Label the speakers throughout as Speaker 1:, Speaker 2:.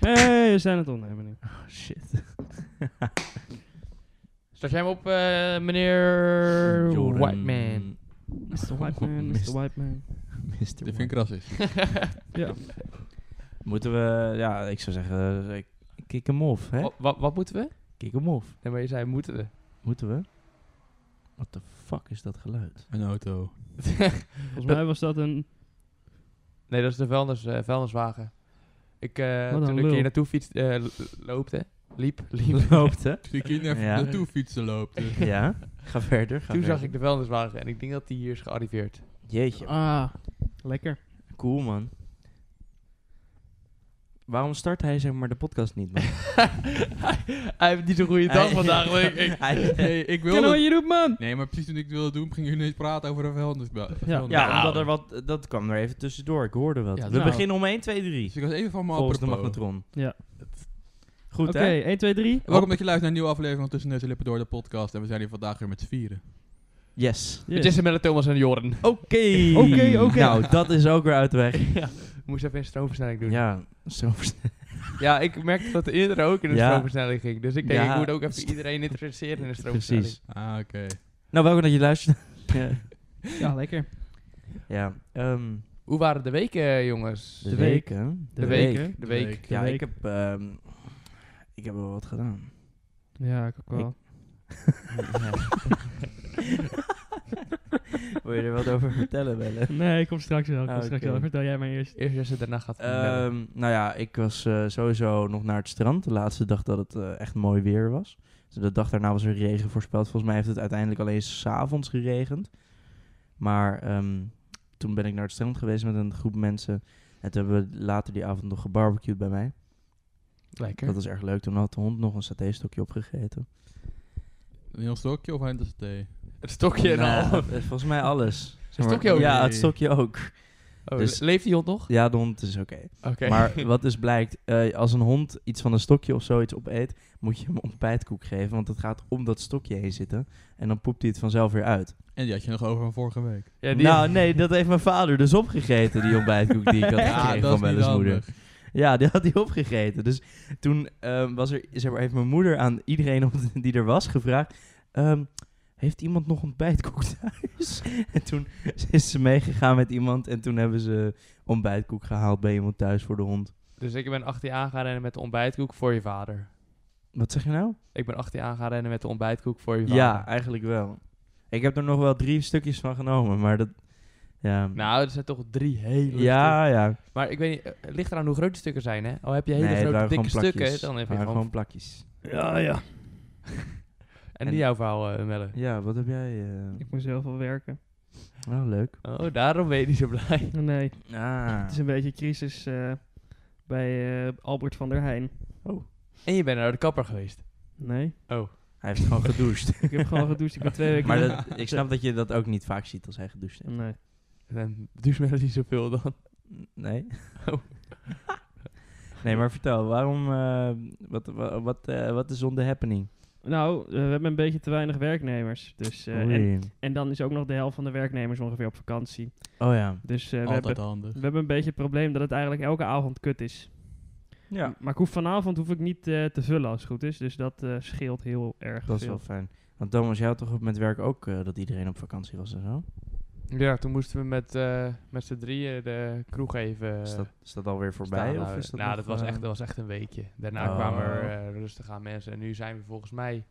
Speaker 1: hey, we zijn het opnemen nu.
Speaker 2: Oh, shit.
Speaker 3: Start jij hem op, eh, meneer
Speaker 2: Jordan.
Speaker 3: Whiteman?
Speaker 1: Mr. White Man, Mr.
Speaker 2: Mist.
Speaker 1: White Man.
Speaker 2: Mr.
Speaker 4: Dit vind ik rassisch.
Speaker 1: Ja.
Speaker 2: Moeten we, ja, ik zou zeggen, eh, kick hem off, hè?
Speaker 3: Wa- wa- wat moeten we?
Speaker 2: Kick hem off.
Speaker 3: Nee, maar je zei moeten we.
Speaker 2: Moeten we? What the fuck is dat geluid?
Speaker 4: Een auto.
Speaker 1: Volgens mij was dat een...
Speaker 3: nee, dat is de vuilnis, eh, vuilniswagen. Ik, eh,
Speaker 1: Wat een
Speaker 3: toen ik
Speaker 1: lul.
Speaker 3: hier naartoe fiets, eh, l- loopte, liep, liep.
Speaker 2: Loopt, hè?
Speaker 4: Toen ik hier even
Speaker 2: Ja.
Speaker 4: naartoe fietsen loopt. eh.
Speaker 2: Ja, ga verder. Ga
Speaker 3: Toen zag
Speaker 2: verder.
Speaker 3: ik de vuilniswagen en ik denk dat die hier is gearriveerd.
Speaker 2: Jeetje,
Speaker 1: Ah, lekker.
Speaker 2: cool man. Waarom start hij zeg maar de podcast niet, man?
Speaker 3: Hij heeft niet zo'n goede dag
Speaker 2: Hij-
Speaker 3: vandaag. maar ik, ik,
Speaker 2: Hij-
Speaker 4: Nee, ik
Speaker 1: Ken wat
Speaker 4: wilde...
Speaker 1: je doet, man!
Speaker 4: Nee, maar precies toen ik het wilde doen, gingen jullie ineens praten over een vuilnisbel.
Speaker 2: Ja,
Speaker 3: Nou.
Speaker 2: omdat er wat, dat kwam er even tussendoor. Ik hoorde wat.
Speaker 3: Ja,
Speaker 2: We
Speaker 3: nou.
Speaker 2: beginnen om 1, 2, 3.
Speaker 4: Dus ik was even van me
Speaker 2: Volgens de
Speaker 4: apropos.
Speaker 2: magnetron.
Speaker 1: Ja.
Speaker 2: Goed,
Speaker 1: Oké, eh-
Speaker 2: hè?
Speaker 1: 1, 2, 3.
Speaker 4: Welkom dat je luistert naar een nieuwe aflevering van Tussen Neus en Lippen door de podcast. En we zijn hier vandaag weer met z'n vieren.
Speaker 2: Yes.
Speaker 3: Het is met Thomas en Jordan.
Speaker 2: Oké.
Speaker 1: Oké, oké.
Speaker 2: Nou, dat is ook weer uit de weg.
Speaker 3: ja, moest even een stroomversnelling doen. Ja,
Speaker 2: Ja, zo versneld.
Speaker 3: ik merkte dat eerder ook in een
Speaker 2: Ja.
Speaker 3: stroomversnelling ging. Dus ik denk,
Speaker 2: Ja.
Speaker 3: ik moet ook even iedereen interesseren in een stroomversnelling.
Speaker 2: Precies.
Speaker 4: Ah, oké.
Speaker 2: Nou, welkom dat je luistert.
Speaker 1: Ja, lekker.
Speaker 2: ja. ehm,
Speaker 3: Hoe waren de weken, eh, jongens?
Speaker 2: de,
Speaker 1: De week.
Speaker 2: weken.
Speaker 1: De
Speaker 3: week.
Speaker 1: week.
Speaker 3: De
Speaker 4: De
Speaker 3: week.
Speaker 4: week.
Speaker 2: Ja,
Speaker 1: De
Speaker 2: ik
Speaker 1: week.
Speaker 2: heb... ehm, ik heb wel wat gedaan.
Speaker 1: Ja, ik ook wel.
Speaker 2: Ja. Wil je er wat over vertellen, Belle?
Speaker 1: Nee, ik kom straks wel. ik kom
Speaker 2: Ah,
Speaker 1: straks
Speaker 2: oké.
Speaker 1: wel. Vertel jij maar eerst.
Speaker 3: Eerst als ze daarna gaat vertellen.
Speaker 2: Ehm, nou ja, ik was eh, sowieso nog naar het strand. De laatste dag dat het eh, echt mooi weer was. Dus de dag daarna was er regen voorspeld. Volgens mij heeft het uiteindelijk alleen s'avonds geregend. Maar ehm, toen ben ik naar het strand geweest met een groep mensen. En toen hebben we later die avond nog gebarbecued bij mij.
Speaker 3: Lekker.
Speaker 2: Dat was erg leuk. Toen had de hond nog een satéstokje opgegeten.
Speaker 4: Een heel stokje of een thee?
Speaker 3: Het stokje en
Speaker 2: Nou,
Speaker 3: al.
Speaker 2: het- volgens mij alles. Zeg maar-
Speaker 3: stokje ook?
Speaker 2: Ja, het stokje ook.
Speaker 3: Oh,
Speaker 2: dus-
Speaker 3: le- leeft die hond nog?
Speaker 2: Ja, de hond is oké.
Speaker 3: Oké.
Speaker 2: Maar wat dus blijkt, eh, als een hond iets van een stokje of zoiets opeet, moet je hem ontbijtkoek geven, want het gaat om dat stokje heen zitten. En dan poept hij het vanzelf weer uit.
Speaker 4: En die had je nog over van vorige week.
Speaker 3: Ja, die-
Speaker 2: nou nee, dat heeft mijn vader dus opgegeten, die ontbijtkoek die ik had
Speaker 4: Ja,
Speaker 2: gekregen
Speaker 4: dat
Speaker 2: van
Speaker 4: is niet
Speaker 2: Belle's moeder.
Speaker 4: handig.
Speaker 2: Ja, die had hij opgegeten. Dus toen ehm, was er, zeg maar, heeft mijn moeder aan iedereen op- die er was gevraagd... ehm, heeft iemand nog ontbijtkoek thuis? En toen is ze meegegaan met iemand en toen hebben ze ontbijtkoek gehaald bij iemand thuis voor de hond.
Speaker 3: Dus ik ben 18 aan gaan rennen met de ontbijtkoek voor je vader.
Speaker 2: Wat zeg je nou?
Speaker 3: Ik ben 18 aan gaan rennen met de ontbijtkoek voor je vader.
Speaker 2: Ja, eigenlijk wel. Ik heb er nog wel drie stukjes van genomen, maar dat... Ja,
Speaker 3: Nou, er zijn toch drie hele
Speaker 2: ja, ja.
Speaker 3: stukken. Maar ik weet niet, eh, het ligt eraan hoe groot de stukken zijn, hè? Oh, heb je hele
Speaker 2: het
Speaker 3: grote,
Speaker 2: waren
Speaker 3: dikke
Speaker 2: gewoon plakjes.
Speaker 3: stukken, dan
Speaker 2: Het
Speaker 3: heb je
Speaker 2: waren
Speaker 3: gewoon...
Speaker 2: gewoon plakjes.
Speaker 1: Ja, ja.
Speaker 3: En die jouw verhaal, eh, Melle.
Speaker 2: Ja, wat heb jij... eh
Speaker 1: Ik moest heel veel werken.
Speaker 2: Oh, leuk.
Speaker 3: Oh, daarom ben je niet zo blij.
Speaker 1: Oh, Nee, het
Speaker 2: Ah.
Speaker 1: is een beetje crisis eh, bij eh, Albert van der Heijn.
Speaker 3: En je bent naar de kapper geweest.
Speaker 1: Nee,
Speaker 2: Hij heeft gewoon gedoucht.
Speaker 1: ik heb gewoon gedoucht. Ik ben twee weken...
Speaker 2: Maar dat, ik snap dat je dat ook niet vaak ziet als hij gedoucht
Speaker 3: Mm.
Speaker 2: heeft.
Speaker 1: Nee.
Speaker 3: En dan douche Melle niet zoveel dan.
Speaker 2: Nee?
Speaker 3: Oh.
Speaker 2: Nee, maar vertel, waarom, eh, wat, wa- wat, eh, wat is on the happening?
Speaker 1: Nou, eh, we hebben een beetje te weinig werknemers. Dus, eh, en,
Speaker 2: Oei.
Speaker 1: en dan is ook nog de helft van de werknemers ongeveer op vakantie.
Speaker 2: oh ja.
Speaker 1: Dus eh, we,
Speaker 4: Altijd
Speaker 1: hebben,
Speaker 4: handig.
Speaker 1: we hebben een beetje het probleem dat het eigenlijk elke avond kut is.
Speaker 2: Ja,
Speaker 1: Maar ik hoef vanavond hoef ik niet eh, te vullen als het goed is. Dus dat eh, scheelt heel erg
Speaker 2: dat is
Speaker 1: veel.
Speaker 2: wel fijn. Want Thomas, jij had toch op met werk ook eh, dat iedereen op vakantie was en zo?
Speaker 3: Ja, toen moesten we met, eh, met z'n drieën de kroeg even...
Speaker 2: Is dat, is dat alweer voorbij?
Speaker 3: staan
Speaker 2: Of
Speaker 3: houden.
Speaker 2: is dat
Speaker 3: nou,
Speaker 2: nog,
Speaker 3: dat was,
Speaker 2: eh,
Speaker 3: echt, dat was echt een weekje. Daarna
Speaker 2: Oh.
Speaker 3: kwamen er eh, rustig aan mensen. En nu zijn we volgens mij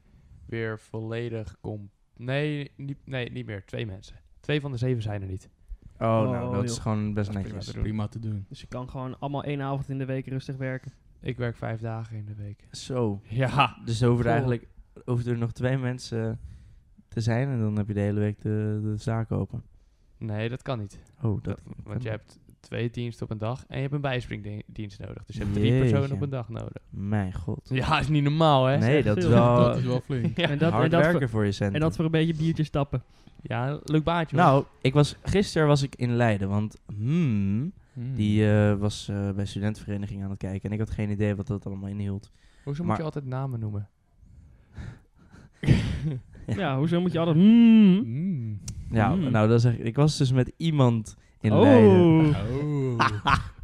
Speaker 3: weer volledig kom. Nee, niet, nee, niet meer. Twee mensen. Twee van de zeven zijn er niet.
Speaker 2: Oh,
Speaker 1: Oh,
Speaker 2: nou, dat is
Speaker 1: joh.
Speaker 2: gewoon best
Speaker 3: Dat is prima
Speaker 2: netjes.
Speaker 3: te doen.
Speaker 4: Prima te doen.
Speaker 1: Dus je kan gewoon allemaal één avond in de week rustig werken.
Speaker 3: Ik werk vijf dagen in de week.
Speaker 2: Zo.
Speaker 3: Ja.
Speaker 2: Dus er hoeven er
Speaker 3: Goh.
Speaker 2: eigenlijk hoeven er nog twee mensen te zijn en dan heb je de hele week de, de zaak open.
Speaker 3: Nee, dat kan niet.
Speaker 2: Oh, dat,
Speaker 3: Want je hebt twee diensten op een dag en je hebt een bijspringdienst nodig. Dus je hebt drie
Speaker 2: Jeetje.
Speaker 3: personen op een dag nodig.
Speaker 2: Mijn god.
Speaker 3: Ja, is niet normaal, hè?
Speaker 2: nee,
Speaker 1: echt
Speaker 2: dat is
Speaker 1: veel.
Speaker 2: wel...
Speaker 4: Dat is wel flink.
Speaker 3: Ja,
Speaker 1: en, dat, en,
Speaker 2: hard
Speaker 1: dat
Speaker 2: werken
Speaker 1: voor,
Speaker 2: voor je centen.
Speaker 1: en dat voor een beetje biertjes tappen.
Speaker 3: ja een leuk baantje. hoor.
Speaker 2: nou, ik was, gisteren was ik in Leiden, want hmm,
Speaker 4: Hmm.
Speaker 2: die eh, was eh, bij studentenvereniging aan het kijken en ik had geen idee wat dat allemaal inhield.
Speaker 3: Hoezo moet
Speaker 2: maar-
Speaker 3: je altijd namen noemen?
Speaker 1: Ja, hoezo moet je altijd... Mm,
Speaker 4: Mm.
Speaker 2: Ja,
Speaker 1: Hmm.
Speaker 2: nou, dat is echt, ik was dus met iemand in
Speaker 1: oh,
Speaker 2: Leiden.
Speaker 4: Oh.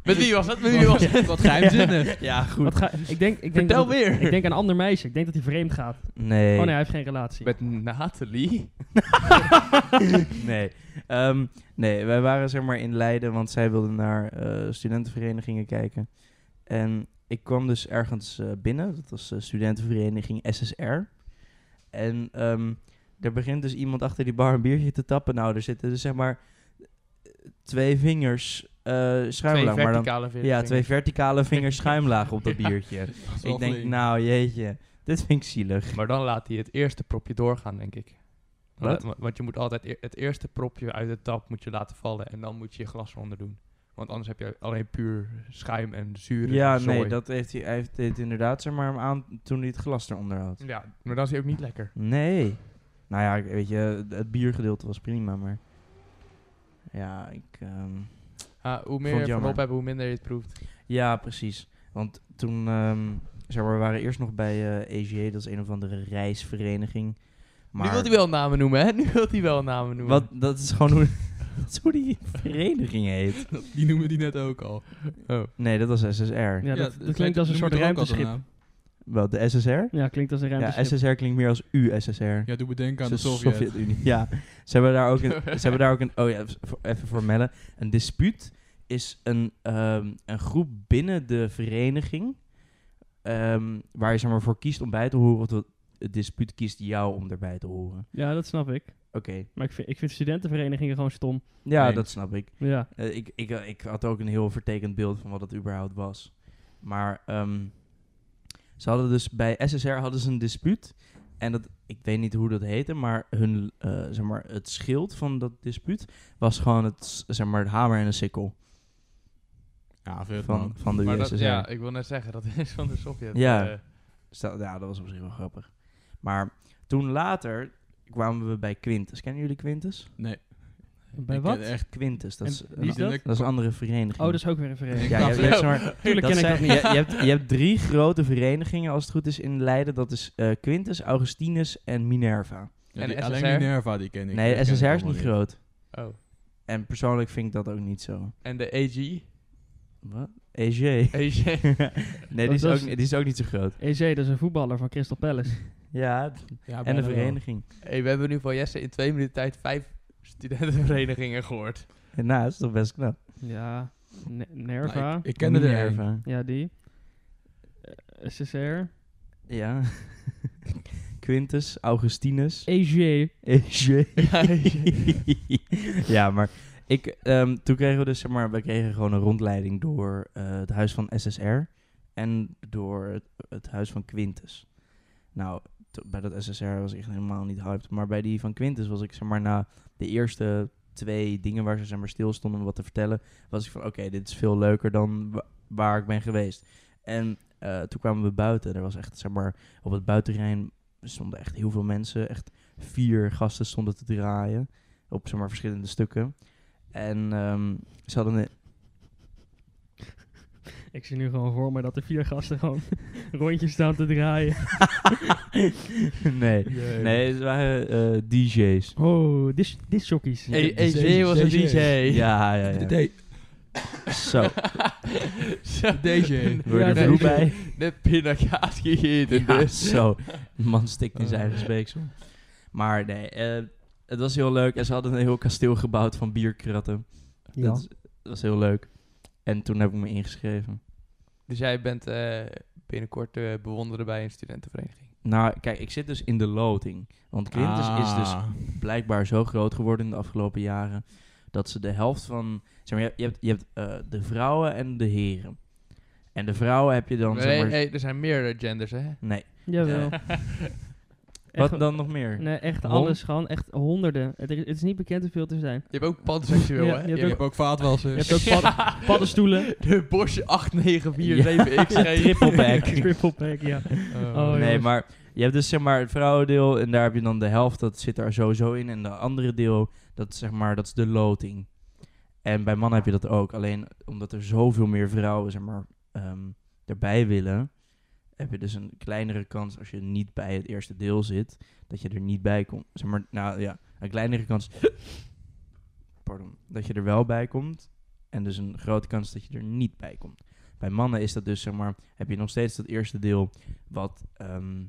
Speaker 3: Met wie was dat? Met wie was dat?
Speaker 4: Wat geheimzinnig.
Speaker 2: Ja, goed.
Speaker 1: Wat ga, ik denk, ik denk
Speaker 3: Vertel
Speaker 1: dat,
Speaker 3: weer.
Speaker 1: Ik denk aan een ander meisje. Ik denk dat hij vreemd gaat.
Speaker 2: Nee.
Speaker 1: Oh nee, hij heeft geen relatie.
Speaker 3: Met Nathalie?
Speaker 2: nee. Ehm, nee, wij waren zeg maar in Leiden, want zij wilden naar eh, studentenverenigingen kijken. En ik kwam dus ergens eh, binnen, dat was eh, studentenvereniging SSR. En ehm er begint dus iemand achter die bar een biertje te tappen. Nou, er zitten dus zeg maar twee vingers eh
Speaker 3: Twee
Speaker 2: schuimlaag. maar dan,
Speaker 3: verticale vingers.
Speaker 2: ja, twee verticale vingers schuimlaag op dat biertje.
Speaker 4: Dat is wel
Speaker 2: ik denk,
Speaker 4: flink.
Speaker 2: nou jeetje, dit vind ik zielig.
Speaker 3: Maar dan laat hij het eerste propje doorgaan, denk ik. Dan
Speaker 2: Wat?
Speaker 3: laat- wa- Want je moet altijd e- het eerste propje uit de tap moet je laten vallen en dan moet je je glas eronder doen. Want anders heb je alleen puur schuim en zuur.
Speaker 2: Ja, nee, dat heeft hij, hij heeft dit inderdaad zeg maar hem aan toen hij het glas eronder had.
Speaker 3: Ja, maar dan is hij ook niet lekker.
Speaker 2: Nee. Nou ja, ik- weet je, het biergedeelte was prima, maar... Ja, ik... ehm,
Speaker 3: Ah, hoe
Speaker 2: Vond
Speaker 3: meer
Speaker 2: het
Speaker 3: je
Speaker 2: jammer.
Speaker 3: erop hebt, hoe minder je het proeft.
Speaker 2: Ja, precies. Want toen, ehm, zeg maar, we waren eerst nog bij eh EG, dat is een of andere reisvereniging. Maar
Speaker 3: Nu wil hij wel namen noemen, hè? Nu wil hij wel namen noemen.
Speaker 2: Wat, dat is gewoon hoe, dat is hoe die vereniging heet.
Speaker 4: Die noemen die net ook al.
Speaker 2: Nee, dat was SSR.
Speaker 1: ja, dat, dat
Speaker 4: weet-
Speaker 1: klinkt als een
Speaker 4: noemen
Speaker 1: soort
Speaker 4: die er ook altijd
Speaker 1: ruimteschip.
Speaker 4: een naam.
Speaker 2: Wel, de SSR?
Speaker 1: Ja, klinkt als een
Speaker 3: dus
Speaker 2: Ja,
Speaker 1: ruimteschip.
Speaker 2: SSR klinkt meer als USSR.
Speaker 4: Ja, doe bedenken aan de
Speaker 2: Zo-
Speaker 4: Sovjet.
Speaker 2: Sovjet-Unie. Ja, ze hebben daar ook een. Ze hebben daar ook een oh ja, voor- even voor Melle. Een dispuut is een, ehm, een groep binnen de vereniging. ehm, waar je zeg maar, voor kiest om bij te horen. Of dat het dispuut kiest jou om erbij te horen.
Speaker 1: Ja, dat snap ik.
Speaker 2: Oké.
Speaker 1: Maar ik vind, ik vind studentenverenigingen gewoon stom.
Speaker 2: Ja,
Speaker 4: Nee.
Speaker 2: dat snap ik.
Speaker 1: Ja.
Speaker 2: Eh, ik, ik, eh, ik had ook een heel vertekend beeld van wat het überhaupt was. Maar ehm, ze hadden dus bij SSR hadden ze een dispuut. En dat, ik weet niet hoe dat heette, maar, hun, eh, zeg maar het schild van dat dispuut was gewoon het, s- zeg maar, het hamer en de sikkel
Speaker 4: Ja, veel
Speaker 2: van,
Speaker 4: man.
Speaker 2: van de
Speaker 3: maar dat,
Speaker 2: USSR.
Speaker 3: ja, ik wil net zeggen, dat is van de Sovjet.
Speaker 2: Ja.
Speaker 3: eh,
Speaker 2: Dus dat, ja, dat was op zich wel grappig. Maar toen later kwamen we bij Quintus. Kennen jullie Quintus?
Speaker 4: Nee.
Speaker 1: Bij
Speaker 4: ik
Speaker 1: wat?
Speaker 4: Echt,
Speaker 2: Quintus, dat
Speaker 1: En
Speaker 2: is,
Speaker 1: wie
Speaker 2: een,
Speaker 1: is dat?
Speaker 2: dat is een andere vereniging.
Speaker 1: Oh, dat is ook weer een vereniging.
Speaker 2: Ja,
Speaker 4: Nou,
Speaker 2: je hebt- je hebt,
Speaker 3: zo.
Speaker 2: zeg maar,
Speaker 1: Tuurlijk
Speaker 2: Dat
Speaker 1: ken ik
Speaker 2: zijn- je, je, hebt, je hebt drie grote verenigingen, als het goed is, in Leiden. Dat is eh, Quintus, Augustinus en Minerva.
Speaker 4: Ja,
Speaker 3: En
Speaker 4: die,
Speaker 3: SSR?
Speaker 4: alleen Minerva, die ken ik.
Speaker 2: nee,
Speaker 4: Die ken ik
Speaker 2: SSR is
Speaker 4: allemaal
Speaker 2: niet groot.
Speaker 3: oh.
Speaker 2: En persoonlijk vind ik dat ook niet zo.
Speaker 3: En de AG?
Speaker 2: Wat? EG.
Speaker 3: AG.
Speaker 2: nee,
Speaker 1: Dat
Speaker 2: die is,
Speaker 1: was-
Speaker 2: ook, niet- die is ook niet zo groot.
Speaker 1: EZ, E dat is een voetballer van Crystal Palace.
Speaker 2: Ja,
Speaker 4: Ja,
Speaker 2: en
Speaker 4: bijna
Speaker 2: de
Speaker 4: wel.
Speaker 2: vereniging.
Speaker 3: Hey, we hebben nu van Jesse in twee minuten tijd vijf studentenverenigingen gehoord.
Speaker 2: En nou, dat is toch best knap.
Speaker 1: Ja. Ne-
Speaker 4: Nou,
Speaker 1: Nerva.
Speaker 4: ik, ik kende er een.
Speaker 2: Minerva.
Speaker 1: Ja, die. Eh, SSR.
Speaker 2: Ja. Quintus, Augustinus.
Speaker 1: E EG.
Speaker 2: EG.
Speaker 3: Ja,
Speaker 2: ja, maar ik, ehm, toen kregen we dus, zeg maar, we kregen gewoon een rondleiding door eh, het huis van SSR en door het, het huis van Quintus. Nou, t- bij dat SSR was ik echt helemaal niet hyped, maar bij die van Quintus was ik, zeg maar, na de eerste twee dingen waar ze, zeg maar, stil stonden om wat te vertellen, was ik van, oké, dit is veel leuker dan wa- waar ik ben geweest. En eh, toen kwamen we buiten, er was echt, zeg maar, op het buitenterrein stonden echt heel veel mensen, echt vier gasten stonden te draaien op zeg maar, verschillende stukken. En ehm, ze hadden een-
Speaker 1: Ik zie nu gewoon voor me dat de vier gasten gewoon rondjes staan te draaien.
Speaker 2: nee, nee, het waren eh, DJ's.
Speaker 1: Oh, dis- discjockeys.
Speaker 3: E-
Speaker 4: Ja,
Speaker 3: EG
Speaker 4: de
Speaker 3: was een
Speaker 4: DJ.
Speaker 3: DJ.
Speaker 2: Ja, ja,
Speaker 4: De,
Speaker 2: ja.
Speaker 4: de,
Speaker 2: Zo,
Speaker 3: Zo.
Speaker 4: DJ.
Speaker 2: word je
Speaker 1: Ja,
Speaker 2: er
Speaker 1: nee,
Speaker 2: vroeg
Speaker 1: nee.
Speaker 2: bij?
Speaker 3: De pindakaas gegeten
Speaker 2: Ja,
Speaker 3: dus.
Speaker 2: zo. De man stikt in zijn eigen
Speaker 4: Eh.
Speaker 2: speeksel. Maar nee, eh, het was heel leuk. En ze hadden een heel kasteel gebouwd van bierkratten.
Speaker 1: Ja.
Speaker 2: Dat, is- dat was heel leuk. En toen heb ik me ingeschreven.
Speaker 3: Dus jij bent eh, binnenkort te bewonderen bij een studentenvereniging.
Speaker 2: Nou, kijk, ik zit dus in de loting. Want Quintus is dus
Speaker 4: Ah.
Speaker 2: blijkbaar zo groot geworden in de afgelopen jaren. Dat ze de helft van. Zeg maar, je hebt, je hebt eh, de vrouwen en de heren. En de vrouwen heb je dan.
Speaker 3: Nee,
Speaker 2: zeg maar,
Speaker 3: hey, er zijn meerdere genders, hè?
Speaker 2: nee.
Speaker 1: Jawel. Echt,
Speaker 2: Wat dan nog meer?
Speaker 1: Nee, echt
Speaker 2: Hon-
Speaker 1: alles gewoon. Echt honderden. Het, is- het is niet bekend hoeveel te zijn.
Speaker 3: Je hebt ook panseksueel,
Speaker 1: Ja,
Speaker 3: hè?
Speaker 1: je hebt
Speaker 4: Je hebt ook vaatwassen.
Speaker 1: Je hebt ook pad- paddenstoelen.
Speaker 3: De Bosch 8947
Speaker 2: Ja,
Speaker 3: XG.
Speaker 2: triple back.
Speaker 1: Triple pack, ja.
Speaker 3: Oh.
Speaker 1: Oh,
Speaker 2: nee,
Speaker 1: jongens.
Speaker 2: maar je hebt dus zeg maar het vrouwendeel. En daar heb je dan de helft. Dat zit er sowieso in. En de andere deel, dat, is zeg maar, dat is de loting. En bij mannen heb je dat ook. Alleen omdat er zoveel meer vrouwen zeg maar, ehm, erbij willen. Heb je dus een kleinere kans als je niet bij het eerste deel zit. Dat je er niet bij komt. Zeg maar, nou ja, een kleinere kans. Pardon. Dat je er wel bij komt. En dus een grote kans dat je er niet bij komt. Bij mannen is dat dus, zeg maar, heb je nog steeds dat eerste deel wat, ehm,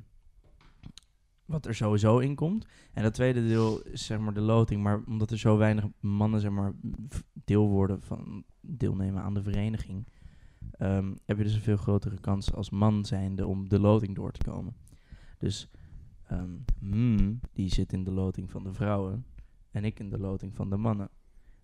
Speaker 2: wat er sowieso in komt. En dat tweede deel is, zeg maar, de loting. Maar omdat er zo weinig mannen, zeg maar, v- deel worden van deelnemen aan de vereniging, ehm, heb je dus een veel grotere kans als man zijnde om de loting door te komen. Dus ehm, hmm, die zit in de loting van de vrouwen en ik in de loting van de mannen.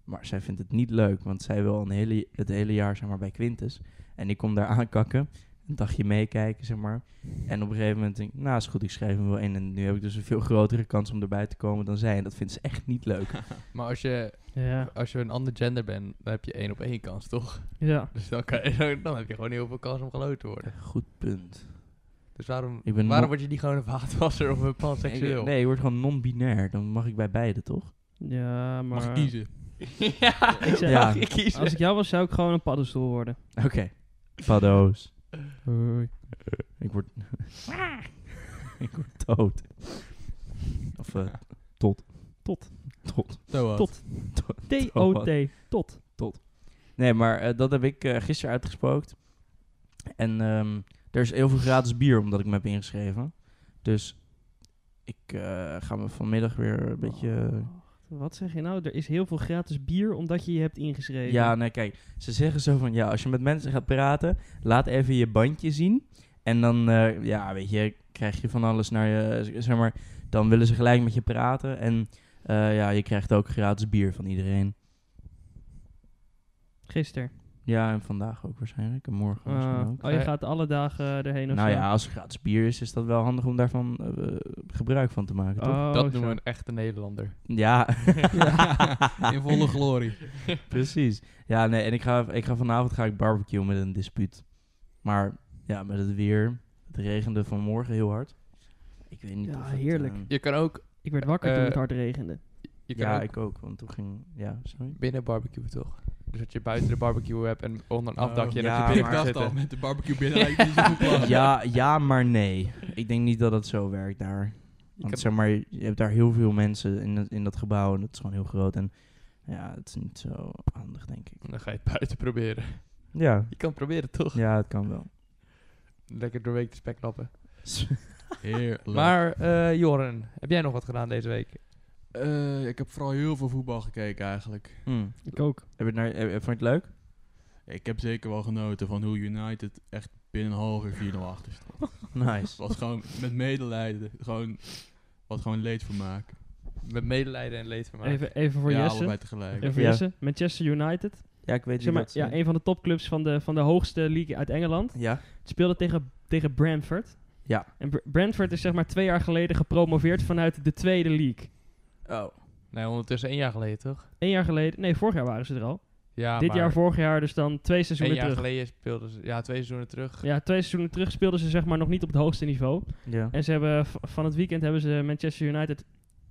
Speaker 2: Maar zij vindt het niet leuk, want zij wil al een hele, het hele jaar zeg maar, bij Quintus. En ik kom daar aankakken, een dagje meekijken, zeg maar. En op een gegeven moment denk ik, nou is goed, ik schrijf hem wel in. En nu heb ik dus een veel grotere kans om erbij te komen dan zij. En dat vindt ze echt niet leuk.
Speaker 3: Maar als je,
Speaker 1: Ja.
Speaker 3: als je een ander gender bent, dan heb je één op één kans, toch?
Speaker 1: ja.
Speaker 3: Dus dan, kan, je- dan heb je gewoon heel veel kans om geloot te worden.
Speaker 2: Goed punt.
Speaker 3: Dus waarom,
Speaker 2: Ik ben
Speaker 3: waarom
Speaker 2: mo-
Speaker 3: word je niet gewoon een vaatwasser of een
Speaker 2: Nee,
Speaker 3: panseksueel?
Speaker 2: nee, je wordt gewoon non-binair. Dan mag ik bij beide, toch?
Speaker 1: Ja, maar...
Speaker 4: Mag ik kiezen?
Speaker 3: ja,
Speaker 1: Ik zeg-
Speaker 2: Ja.
Speaker 3: ik kies.
Speaker 1: Als ik jou was, zou ik gewoon een paddenstoel worden.
Speaker 2: Oké. Paddo's.
Speaker 1: Hoi.
Speaker 2: Ik word... ik word dood. Of eh, tot.
Speaker 1: Tot.
Speaker 2: Tot.
Speaker 4: Zo
Speaker 1: Tot. T-O-T. Tot.
Speaker 2: Nee, maar eh, dat heb ik eh, gisteren uitgespookt. En ehm, er is heel veel gratis bier omdat ik me heb ingeschreven. Dus ik eh, ga me vanmiddag weer een beetje... eh,
Speaker 1: Oh, wat zeg je nou? Er is heel veel gratis bier omdat je je hebt ingeschreven.
Speaker 2: Ja, nee, kijk. Ze zeggen zo van, ja, als je met mensen gaat praten, laat even je bandje zien. En dan, eh, ja, weet je, krijg je van alles naar je, z- zeg maar, dan willen ze gelijk met je praten. En eh, ja, je krijgt ook gratis bier van iedereen.
Speaker 1: Gisteren.
Speaker 2: Ja, en vandaag ook waarschijnlijk, en morgen
Speaker 1: Eh,
Speaker 2: misschien ook.
Speaker 1: oh, je gaat alle dagen eh, erheen of
Speaker 2: nou
Speaker 1: zo?
Speaker 2: ja, als er gratis bier is, is dat wel handig om daarvan eh, gebruik van te maken, toch?
Speaker 1: Oh,
Speaker 3: dat
Speaker 1: zo.
Speaker 3: noemen we een echte Nederlander.
Speaker 2: Ja,
Speaker 4: In volle glorie.
Speaker 2: precies. Ja, nee, en ik ga, ik ga vanavond ga ik barbecue met een dispuut. Maar ja, met het weer, het regende vanmorgen heel hard. Ik weet niet
Speaker 1: Ja,
Speaker 2: of het,
Speaker 1: heerlijk.
Speaker 2: eh,
Speaker 3: Je kan ook...
Speaker 1: Ik werd wakker
Speaker 3: Eh,
Speaker 1: toen het hard regende.
Speaker 3: Je kan
Speaker 2: ja,
Speaker 3: ook
Speaker 2: ik ook, want toen ging... Ja, sorry.
Speaker 3: binnen barbecue, toch? Dus dat je buiten de barbecue hebt en onder een
Speaker 4: Oh,
Speaker 3: afdakje en
Speaker 2: ja,
Speaker 3: dat je
Speaker 2: Ah,
Speaker 3: binnen
Speaker 2: maar-
Speaker 3: kan
Speaker 4: Ik dacht al,
Speaker 3: zitten.
Speaker 4: met de barbecue binnen lijkt het niet zo goed plan.
Speaker 2: Ja, ja, maar nee. Ik denk niet dat het zo werkt daar. Want
Speaker 3: heb-
Speaker 2: zeg maar, je hebt daar heel veel mensen in, dat- in dat gebouw en dat is gewoon heel groot. En ja, het is niet zo handig, denk ik.
Speaker 3: Dan ga je het buiten proberen.
Speaker 2: Ja,
Speaker 3: Je kan het proberen, toch?
Speaker 2: ja het kan wel.
Speaker 3: Lekker doorweek de spek lappen.
Speaker 4: Heerlijk.
Speaker 3: Maar eh, Joren, heb jij nog wat gedaan deze week?
Speaker 4: Eh, ik heb vooral heel veel voetbal gekeken eigenlijk.
Speaker 2: Hm.
Speaker 1: Ik ook.
Speaker 2: Heb je het naar, heb, vond je het leuk?
Speaker 4: Ik heb zeker wel genoten van hoe United echt binnen een half uur 4-0 achter stond. Het
Speaker 2: Nice.
Speaker 4: was gewoon met medelijden. Gewoon, wat gewoon leed voor maken.
Speaker 3: Met medelijden en leed vermaken.
Speaker 1: Even, even voor
Speaker 4: ja,
Speaker 1: Jesse.
Speaker 4: allebei tegelijk.
Speaker 1: Even voor
Speaker 2: Ja.
Speaker 1: Jesse. Manchester United.
Speaker 2: Ja, ik weet
Speaker 1: Zeg
Speaker 2: niet
Speaker 1: maar, ja, een van de topclubs van de, van de hoogste league uit Engeland.
Speaker 2: Ja.
Speaker 1: Het speelde tegen, tegen Brentford.
Speaker 2: Ja.
Speaker 1: En Br- Brentford is zeg maar twee jaar geleden gepromoveerd vanuit de tweede league.
Speaker 2: Oh.
Speaker 3: Nee, ondertussen één jaar geleden, toch?
Speaker 1: Eén jaar geleden, nee, vorig jaar waren ze er al.
Speaker 3: Ja,
Speaker 1: Dit
Speaker 3: maar
Speaker 1: jaar, vorig jaar, dus dan twee
Speaker 3: één
Speaker 1: seizoenen
Speaker 3: jaar
Speaker 1: terug.
Speaker 3: geleden speelden ze... Ja, twee seizoenen terug.
Speaker 1: Ja, twee seizoenen terug speelden ze zeg maar nog niet op het hoogste niveau.
Speaker 2: Ja.
Speaker 1: En ze hebben, v- van het weekend hebben ze Manchester United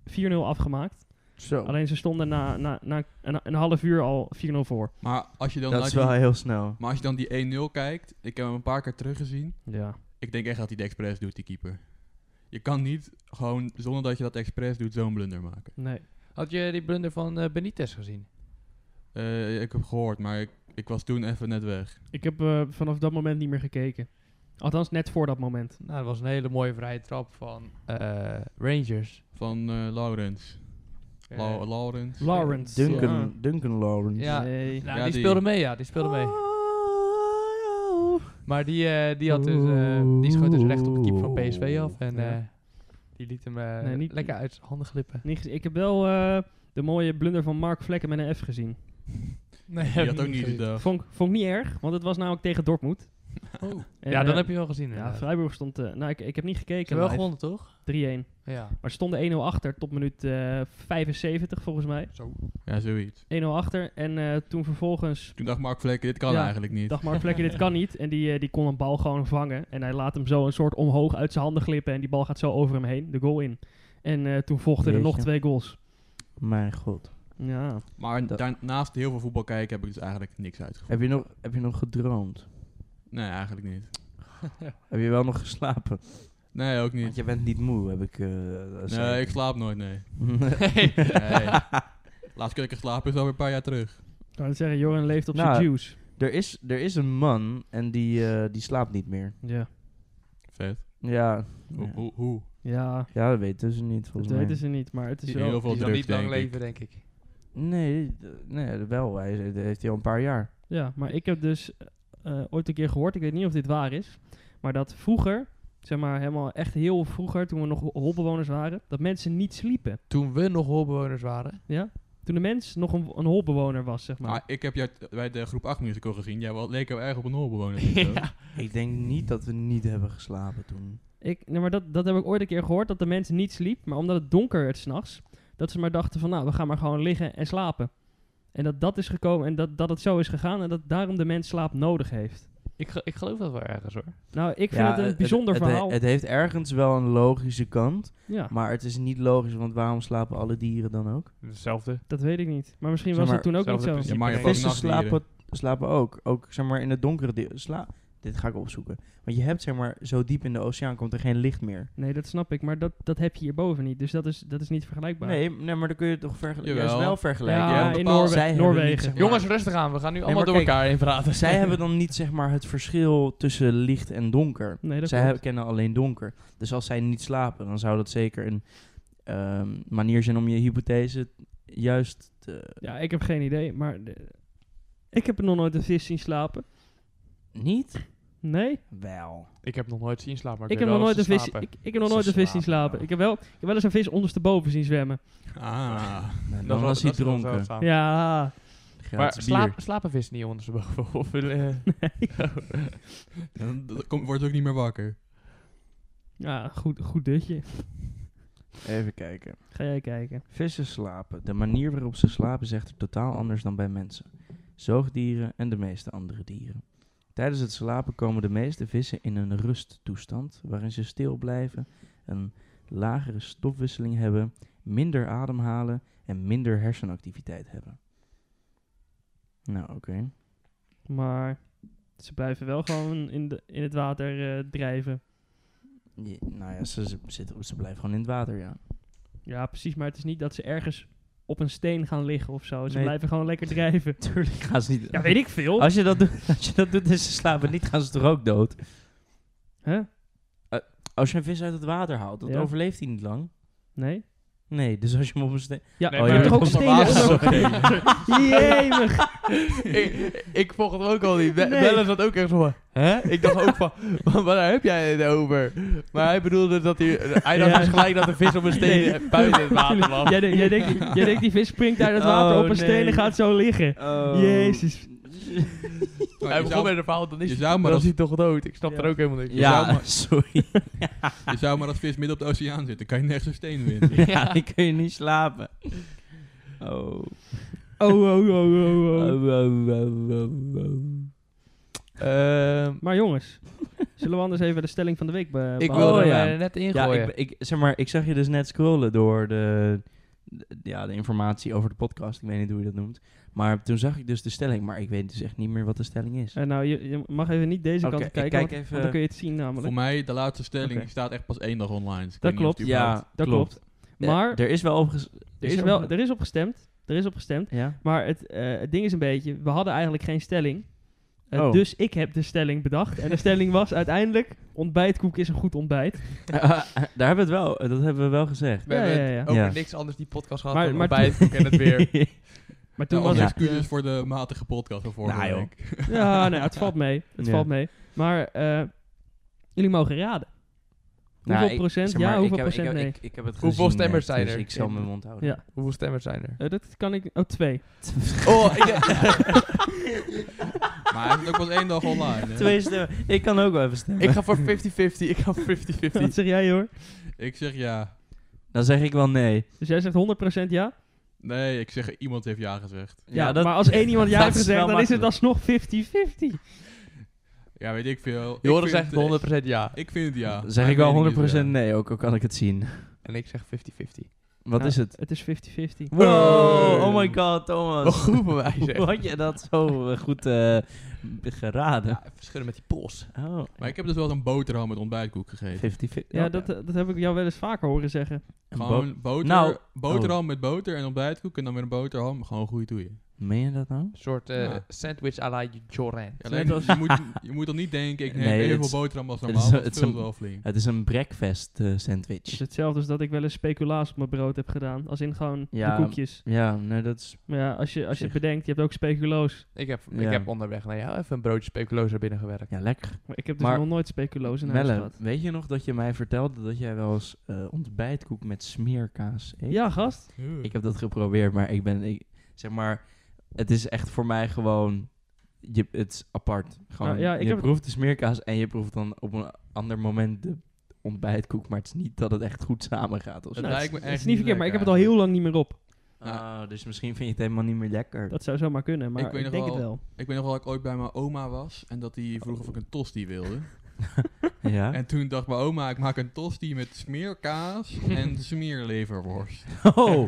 Speaker 1: 4-0 afgemaakt.
Speaker 3: Oh.
Speaker 2: Zo.
Speaker 1: Alleen ze stonden na, na, na een, een half uur al 4-0 voor.
Speaker 4: Maar als je dan,
Speaker 2: dat
Speaker 4: naar
Speaker 2: is
Speaker 4: die-
Speaker 2: wel heel snel.
Speaker 4: maar als je dan die 1-0 kijkt, ik heb hem een paar keer teruggezien.
Speaker 1: Ja.
Speaker 4: Ik denk echt dat hij de expres doet, die keeper. Je kan niet gewoon, zonder dat je dat expres doet, zo'n blunder maken.
Speaker 1: Nee.
Speaker 3: Had je die blunder van eh, Benitez gezien?
Speaker 4: Eh, ik heb gehoord, maar ik, ik was toen even net weg.
Speaker 1: Ik heb eh, vanaf dat moment niet meer gekeken. Althans, net voor dat moment.
Speaker 3: Nou, dat was een hele mooie vrije trap van eh, Rangers.
Speaker 4: Van eh Laurens.
Speaker 3: Eh,
Speaker 4: La- Laurens.
Speaker 1: Lawrence.
Speaker 2: Duncan,
Speaker 1: Ja.
Speaker 2: Duncan Lawrence.
Speaker 3: Ja.
Speaker 1: Nee.
Speaker 3: nou,
Speaker 4: Ja,
Speaker 3: die,
Speaker 4: die-
Speaker 3: speelde mee, ja. Die speelde mee.
Speaker 2: Oh,
Speaker 3: Maar die, eh, die, had dus, eh, die schoot dus recht op de keeper van PSV af. En
Speaker 1: Ja.
Speaker 3: eh, die liet hem eh,
Speaker 1: Nee, niet-
Speaker 3: lekker uit zijn handen glippen.
Speaker 1: Niet gezien. Ik heb wel eh, de mooie blunder van Mark Vlekken met een F gezien.
Speaker 3: Nee,
Speaker 4: Die had ook niet gedacht.
Speaker 1: Vond, ik- vond ik niet erg, want het was namelijk tegen Dortmund.
Speaker 4: Oh.
Speaker 1: En,
Speaker 3: ja, dan
Speaker 1: eh,
Speaker 3: heb je wel gezien.
Speaker 1: Ja,
Speaker 3: inderdaad.
Speaker 1: Freiburg stond... eh, nou, ik, ik heb niet
Speaker 3: Ze hebben
Speaker 1: gekeken
Speaker 3: wel
Speaker 1: live.
Speaker 3: gewonnen, toch?
Speaker 1: 3-1.
Speaker 3: Ja.
Speaker 1: Maar ze stonden 1-0 achter tot minuut eh, 75, volgens mij.
Speaker 4: Ja, zoiets.
Speaker 1: 1-0 achter. En eh, toen vervolgens
Speaker 4: Toen dacht Mark Vlekken, dit kan
Speaker 1: Ja,
Speaker 4: eigenlijk niet.
Speaker 1: dacht Mark Vlekken, dit kan niet. En die, eh, die kon een bal gewoon vangen. En hij laat hem zo een soort omhoog uit zijn handen glippen. En die bal gaat zo over hem heen, de goal in. En eh, toen volgden er nog
Speaker 2: Jeetje.
Speaker 1: twee goals.
Speaker 2: Mijn god.
Speaker 1: Ja.
Speaker 4: Maar
Speaker 2: Dat-
Speaker 4: daarnaast heel veel voetbal kijken heb ik dus eigenlijk niks uitgevoerd.
Speaker 2: Heb je, nog, heb je nog gedroomd?
Speaker 4: Nee, eigenlijk niet.
Speaker 2: Heb je wel nog geslapen?
Speaker 4: Nee, ook
Speaker 2: Want
Speaker 4: niet.
Speaker 2: je bent niet moe, heb ik... eh,
Speaker 4: Nee,
Speaker 2: zeker.
Speaker 4: ik slaap nooit, nee.
Speaker 2: Nee.
Speaker 4: nee. Laatst keer dat ik geslapen is alweer een paar jaar terug.
Speaker 1: Ik kan het zeggen, Joran leeft op
Speaker 2: Nou,
Speaker 1: zijn juice.
Speaker 2: Er is, er is een man en die, eh, die slaapt niet meer.
Speaker 1: Ja,
Speaker 4: Vet.
Speaker 2: Ja,
Speaker 4: Hoe?
Speaker 2: ja.
Speaker 4: hoe- hoe?
Speaker 1: ja
Speaker 2: ja dat weten ze niet
Speaker 1: dat
Speaker 2: volgens mij.
Speaker 1: weten ze niet, maar het is
Speaker 4: Heel
Speaker 1: wel...
Speaker 4: veel
Speaker 3: Die zal
Speaker 4: drugs,
Speaker 3: niet lang
Speaker 4: denk ik.
Speaker 3: leven, denk ik.
Speaker 2: Nee, d- nee, wel. Hij is- dat heeft hij al een paar jaar.
Speaker 1: Ja, maar ik heb dus eh, ooit een keer gehoord, ik weet niet of dit waar is, maar dat vroeger, zeg maar helemaal echt heel vroeger, toen we nog holbewoners waren, dat mensen niet sliepen.
Speaker 3: Toen we nog holbewoners waren.
Speaker 1: Ja? Toen de mens nog een, een holbewoner was, zeg maar.
Speaker 2: Ah,
Speaker 4: Maar Ah, ik heb jou t- bij de groep 8 musical gezien. Jij wel- leek wel erg op een holbewoner.
Speaker 3: ja.
Speaker 2: Ik denk niet dat we niet hebben geslapen toen.
Speaker 1: Ik, nee, maar dat, dat heb ik ooit een keer gehoord, dat de mensen niet sliep, maar omdat het donker werd s'nachts, dat ze maar dachten van, nou, we gaan maar gewoon liggen en slapen. En dat dat is gekomen en dat, dat het zo is gegaan en dat daarom de mens slaap nodig heeft.
Speaker 3: Ik, ge- ik geloof dat wel ergens hoor.
Speaker 1: Nou, ik vind het een bijzonder
Speaker 2: eh, het,
Speaker 1: verhaal.
Speaker 2: Het, heeft ergens wel een logische kant,
Speaker 1: ja,
Speaker 2: maar het is niet logisch, want waarom slapen alle dieren dan ook?
Speaker 3: Hetzelfde.
Speaker 1: dat weet ik niet. Maar misschien
Speaker 2: Zeg
Speaker 1: was
Speaker 2: maar,
Speaker 1: dat toen ook niet
Speaker 3: hetzelfde
Speaker 1: zo.
Speaker 3: principe.
Speaker 4: Ja, maar je
Speaker 3: Nee.
Speaker 4: hebt ook
Speaker 2: Vissen
Speaker 4: nachtdieren.
Speaker 2: slapen, slapen ook. Ook zeg maar in het donkere deel. Sla Dit ga ik opzoeken. Want je hebt zeg maar zo diep in de oceaan komt er geen licht meer.
Speaker 1: Nee, dat snap ik, maar dat, dat heb je hierboven niet. Dus dat is, dat is niet vergelijkbaar.
Speaker 2: Nee, nee, maar dan kun je het toch vergelijken.
Speaker 4: Jawel.
Speaker 2: Juist wel vergelijken.
Speaker 1: Ja,
Speaker 4: Ja,
Speaker 1: in
Speaker 4: bepaald-
Speaker 1: Noorwe-
Speaker 2: Zij hebben niet,
Speaker 1: Noorwegen.
Speaker 2: zeg maar-
Speaker 3: Jongens, rustig aan. We gaan nu allemaal
Speaker 2: maar
Speaker 3: door
Speaker 2: kijk,
Speaker 3: elkaar heen praten.
Speaker 2: Zij hebben dan niet zeg maar het verschil tussen licht en donker.
Speaker 1: Nee, dat
Speaker 2: zij
Speaker 1: klopt.
Speaker 2: hebben- kennen alleen donker. Dus als zij niet slapen, dan zou dat zeker een ehm, manier zijn om je hypothese juist te-
Speaker 1: Ja, ik heb geen idee, maar de- ik heb nog nooit een vis zien slapen.
Speaker 2: niet.
Speaker 1: Nee,
Speaker 2: Wel.
Speaker 3: Ik heb nog nooit zien slapen. Maar
Speaker 1: ik
Speaker 3: weet
Speaker 1: heb nog
Speaker 3: wel
Speaker 1: nooit een
Speaker 3: dat ze
Speaker 1: vis.
Speaker 3: slapen.
Speaker 1: Ik, ik heb nog
Speaker 2: Ze
Speaker 1: nooit een vis zien
Speaker 2: slapen
Speaker 1: slapen.
Speaker 2: wel.
Speaker 1: Ik heb wel, ik heb wel eens een vis ondersteboven zien zwemmen.
Speaker 4: Ah.
Speaker 2: Dan
Speaker 3: wel-
Speaker 2: was hij
Speaker 3: wel zo
Speaker 2: dronken.
Speaker 3: samen.
Speaker 1: Ja,
Speaker 3: Maar
Speaker 2: Gratis bier.
Speaker 3: slaap, slapen vissen niet ondersteboven? Of,
Speaker 1: Oh,
Speaker 3: eh,
Speaker 4: Dan dan komt- wordt ook niet meer wakker.
Speaker 1: ja goed, goed dutje.
Speaker 2: Even kijken.
Speaker 1: Ga jij kijken.
Speaker 2: Vissen slapen. De manier waarop ze slapen is echter totaal anders dan bij mensen, zoogdieren en de meeste andere dieren. Tijdens het slapen komen de meeste vissen in een rusttoestand, waarin ze stil blijven, een lagere stofwisseling hebben, minder ademhalen en minder hersenactiviteit hebben. Nou, oké.
Speaker 1: Maar ze blijven wel gewoon in, de, in het water eh, drijven.
Speaker 2: Je- Nou ja, ze, ze, zitten, ze blijven gewoon in het water, ja.
Speaker 1: Ja, precies, maar het is niet dat ze ergens op een steen gaan liggen of zo. Ze
Speaker 2: Nee.
Speaker 1: blijven gewoon lekker drijven.
Speaker 2: Tuurlijk gaan ze niet...
Speaker 1: Ja, weet ik veel.
Speaker 2: Als je dat doet, als je dat doet en ze slapen niet, gaan ze toch ook dood?
Speaker 1: Hè?
Speaker 2: Als je een vis uit het water haalt, dat
Speaker 1: Ja.
Speaker 2: overleeft hij niet lang.
Speaker 1: Nee?
Speaker 2: Nee, dus als je hem op een steen...
Speaker 1: Ja,
Speaker 3: Nee,
Speaker 1: maar
Speaker 2: maar
Speaker 1: Oh, je hebt toch
Speaker 2: dat
Speaker 1: ook
Speaker 3: komt
Speaker 1: stenen
Speaker 3: onder
Speaker 1: onder Jemig.
Speaker 3: ik, ik volg het ook al niet. Be
Speaker 1: Nee.
Speaker 3: Bellen zat ook echt zo van... Hè? Ik dacht ook van... "Wa- Waar heb jij het over? Maar hij bedoelde dat hij... Hij dacht
Speaker 1: Ja.
Speaker 3: dus gelijk dat de vis op een steen
Speaker 1: Nee.
Speaker 3: buiten eh, het water was.
Speaker 1: Jij, denkt- jij, denkt, jij denkt die vis springt uit het water
Speaker 2: Oh,
Speaker 1: op een steen en
Speaker 2: nee.
Speaker 1: gaat zo liggen.
Speaker 4: Oh.
Speaker 1: Jezus.
Speaker 4: Maar
Speaker 3: hij begon
Speaker 4: je,
Speaker 3: met
Speaker 4: zou,
Speaker 3: een verhaal, dan is,
Speaker 4: je
Speaker 3: hij-
Speaker 4: zou maar
Speaker 3: dan
Speaker 4: als-
Speaker 3: is hij toch dood. Ik snap er
Speaker 1: Ja.
Speaker 3: ook helemaal niks
Speaker 4: Je zou
Speaker 2: Ja,
Speaker 4: maar-
Speaker 2: sorry.
Speaker 4: je zou maar dat vis midden op de oceaan zitten. Kan je nergens een steen winnen.
Speaker 2: ja, die kun je niet slapen. Oh.
Speaker 1: Oh, oh, oh, oh, oh.
Speaker 2: Oh, oh, oh, oh, oh.
Speaker 3: van. Ehm,
Speaker 1: Maar jongens, zullen we anders even de stelling van de week be
Speaker 3: ik
Speaker 1: behandelen?
Speaker 3: wilde
Speaker 2: oh,
Speaker 3: er
Speaker 2: ja.
Speaker 3: eh, net
Speaker 2: Ja,
Speaker 3: ingooien.
Speaker 2: ik, ben- ik, zeg maar, ik zag je dus net scrollen door de, de- ja, de informatie over de podcast. Ik weet niet hoe je dat noemt. Maar toen zag ik dus de stelling, maar ik weet dus echt niet meer wat de stelling is.
Speaker 1: Eh, nou, je, je mag even niet deze
Speaker 2: Oké,
Speaker 1: kant
Speaker 2: ik
Speaker 1: op kijken,
Speaker 2: kijk
Speaker 1: want, want
Speaker 2: even-
Speaker 1: dan kun je het zien namelijk.
Speaker 4: Voor mij, de laatste stelling
Speaker 2: Oké.
Speaker 4: staat echt pas één dag online. Dus ik
Speaker 1: Dat
Speaker 4: weet niet of
Speaker 1: klopt.
Speaker 4: het überhaupt-
Speaker 1: Dat klopt.
Speaker 2: Eh,
Speaker 1: Maar
Speaker 2: er is wel over...
Speaker 1: er, is wel, er is op gestemd. Er is op gestemd.
Speaker 2: Ja?
Speaker 1: Maar het, eh, het ding is een beetje, we hadden eigenlijk geen stelling. Eh,
Speaker 2: Oh.
Speaker 1: Dus ik heb de stelling bedacht. En de stelling was uiteindelijk, ontbijtkoek is een goed ontbijt.
Speaker 2: Eh, daar hebben we het wel, dat hebben we wel gezegd.
Speaker 3: We
Speaker 1: Ja,
Speaker 3: hebben
Speaker 1: ja, ja.
Speaker 3: het over
Speaker 2: Ja.
Speaker 3: niks anders die podcast gehad
Speaker 1: Maar-
Speaker 3: dan
Speaker 1: maar
Speaker 3: bij het en het weer.
Speaker 1: Maar toen
Speaker 4: Nou,
Speaker 1: was
Speaker 4: onze
Speaker 2: Ja.
Speaker 4: excuses voor de matige podcast van vorige
Speaker 2: Nou, joh.
Speaker 4: week.
Speaker 1: Ja, nou, ja, het valt mee. Het
Speaker 2: Ja.
Speaker 1: valt mee. Maar eh, jullie mogen raden.
Speaker 2: Nou,
Speaker 1: Hoeveel
Speaker 2: ik-
Speaker 1: procent
Speaker 2: zeg
Speaker 1: ja,
Speaker 2: maar,
Speaker 1: hoeveel
Speaker 2: ik heb- ik
Speaker 1: procent
Speaker 2: heb-
Speaker 1: nee?
Speaker 2: Ik, ik heb het
Speaker 3: Hoeveel
Speaker 2: gezien
Speaker 3: stemmers
Speaker 2: net,
Speaker 3: zijn
Speaker 2: dus
Speaker 3: er?
Speaker 2: ik zal mijn mond houden.
Speaker 1: Ja.
Speaker 3: Hoeveel stemmers zijn er?
Speaker 1: Eh, dat kan ik... Oh, twee.
Speaker 3: Oh, ik denk-
Speaker 4: Maar hij is ook pas één dag online. hè.
Speaker 2: Twee stemmen. Ik kan ook wel even stemmen.
Speaker 3: ik ga voor 50-50. Ik ga voor 50-50.
Speaker 1: Wat zeg jij, hoor?
Speaker 4: Ik zeg ja.
Speaker 2: Dan zeg ik wel nee.
Speaker 1: Dus jij zegt 100% ja?
Speaker 4: Nee, ik zeg iemand heeft ja gezegd.
Speaker 1: Ja, maar als één iemand ja
Speaker 2: dat
Speaker 1: heeft
Speaker 2: is
Speaker 1: gezegd, dan
Speaker 2: wel
Speaker 1: is het alsnog 50-50.
Speaker 4: Ja, weet ik veel. Ik
Speaker 3: Joris
Speaker 4: vind
Speaker 3: zegt
Speaker 4: het-
Speaker 3: 100% ja.
Speaker 4: Ik vind het ja.
Speaker 2: Dan zeg ik
Speaker 4: Mijn
Speaker 2: wel
Speaker 4: mening is
Speaker 2: 100%
Speaker 4: ja.
Speaker 2: nee, ook al kan ik het zien.
Speaker 3: En ik zeg 50-50.
Speaker 2: Wat
Speaker 1: Ja.
Speaker 2: is het?
Speaker 1: Het is 50-50.
Speaker 2: Wow,
Speaker 4: Wow.
Speaker 2: oh my god,
Speaker 3: Wat
Speaker 2: Thomas.
Speaker 3: goed van mij
Speaker 2: Hoe
Speaker 3: zeg.
Speaker 2: had je dat zo eh, goed eh, geraden?
Speaker 3: Ja, verschillen met die pols.
Speaker 2: Oh,
Speaker 4: Maar ik heb dus wel eens een boterham met ontbijtkoek gegeten.
Speaker 2: 50-50.
Speaker 1: Ja, dat, eh, dat heb ik jou wel eens vaker horen zeggen.
Speaker 2: Bo-
Speaker 4: Gewoon boter,
Speaker 2: Nou,
Speaker 4: boterham met boter en ontbijtkoek en dan weer een boterham. Gewoon goede toeien.
Speaker 2: Meen je dat nou?
Speaker 3: Een soort eh,
Speaker 4: Ja.
Speaker 3: sandwich à la Joran.
Speaker 4: Ja, alleen,
Speaker 2: Net als-
Speaker 4: je, moet, je moet dan niet denken, ik neem
Speaker 2: Nee, het
Speaker 4: even
Speaker 2: is-
Speaker 4: veel boterham als
Speaker 2: het is-
Speaker 4: normaal, want
Speaker 2: het
Speaker 4: het
Speaker 2: is
Speaker 4: vult
Speaker 2: een-
Speaker 4: wel flink.
Speaker 2: Het is een breakfast eh,
Speaker 1: Het is
Speaker 2: sandwich.
Speaker 1: hetzelfde als dat ik wel eens speculaas op mijn brood heb gedaan. Als in gewoon
Speaker 2: Ja.
Speaker 1: de koekjes.
Speaker 2: Ja, nee, dat is...
Speaker 1: Maar ja, als je, als je het
Speaker 2: Zich.
Speaker 1: bedenkt, je hebt ook speculoos.
Speaker 3: Ik heb,
Speaker 2: Ja.
Speaker 3: ik heb onderweg naar jou even een broodje speculoos naar binnen gewerkt.
Speaker 2: Ja, lekker.
Speaker 1: Maar ik heb dus
Speaker 2: Maar-
Speaker 1: nog nooit speculoos in huis
Speaker 2: Melle,
Speaker 1: gehad.
Speaker 2: weet je nog dat je mij vertelde dat jij wel eens eh, ontbijtkoek met smeerkaas eet?
Speaker 1: Ja, gast.
Speaker 4: Ugh.
Speaker 2: Ik heb dat geprobeerd, maar ik ben... Ik, zeg maar, het is echt voor mij gewoon... Je, het is apart. Gewoon,
Speaker 1: Nou, ja, ik
Speaker 2: je
Speaker 1: heb-
Speaker 2: proeft de smeerkaas en je proeft dan op een ander moment de ontbijtkoek. Maar het is niet dat het echt goed samengaat of zo.
Speaker 4: Dat
Speaker 1: Nou,
Speaker 4: lijkt me
Speaker 1: het is
Speaker 4: echt
Speaker 1: niet
Speaker 4: niet
Speaker 1: verkeerd, maar ik heb
Speaker 4: lekker
Speaker 1: het al heel lang niet meer op.
Speaker 2: Ah, dus misschien vind je het helemaal niet meer lekker.
Speaker 1: Dat zou zomaar kunnen, maar ik,
Speaker 4: Ik weet nog
Speaker 1: denk
Speaker 4: wel-
Speaker 1: het wel.
Speaker 4: Ik weet nog wel dat ik ooit bij mijn oma was en dat die vroeg of ik een tosti wilde.
Speaker 2: Ja?
Speaker 4: En toen dacht mijn oma, ik maak een tosti met smeerkaas en smeerleverworst.
Speaker 2: Oh,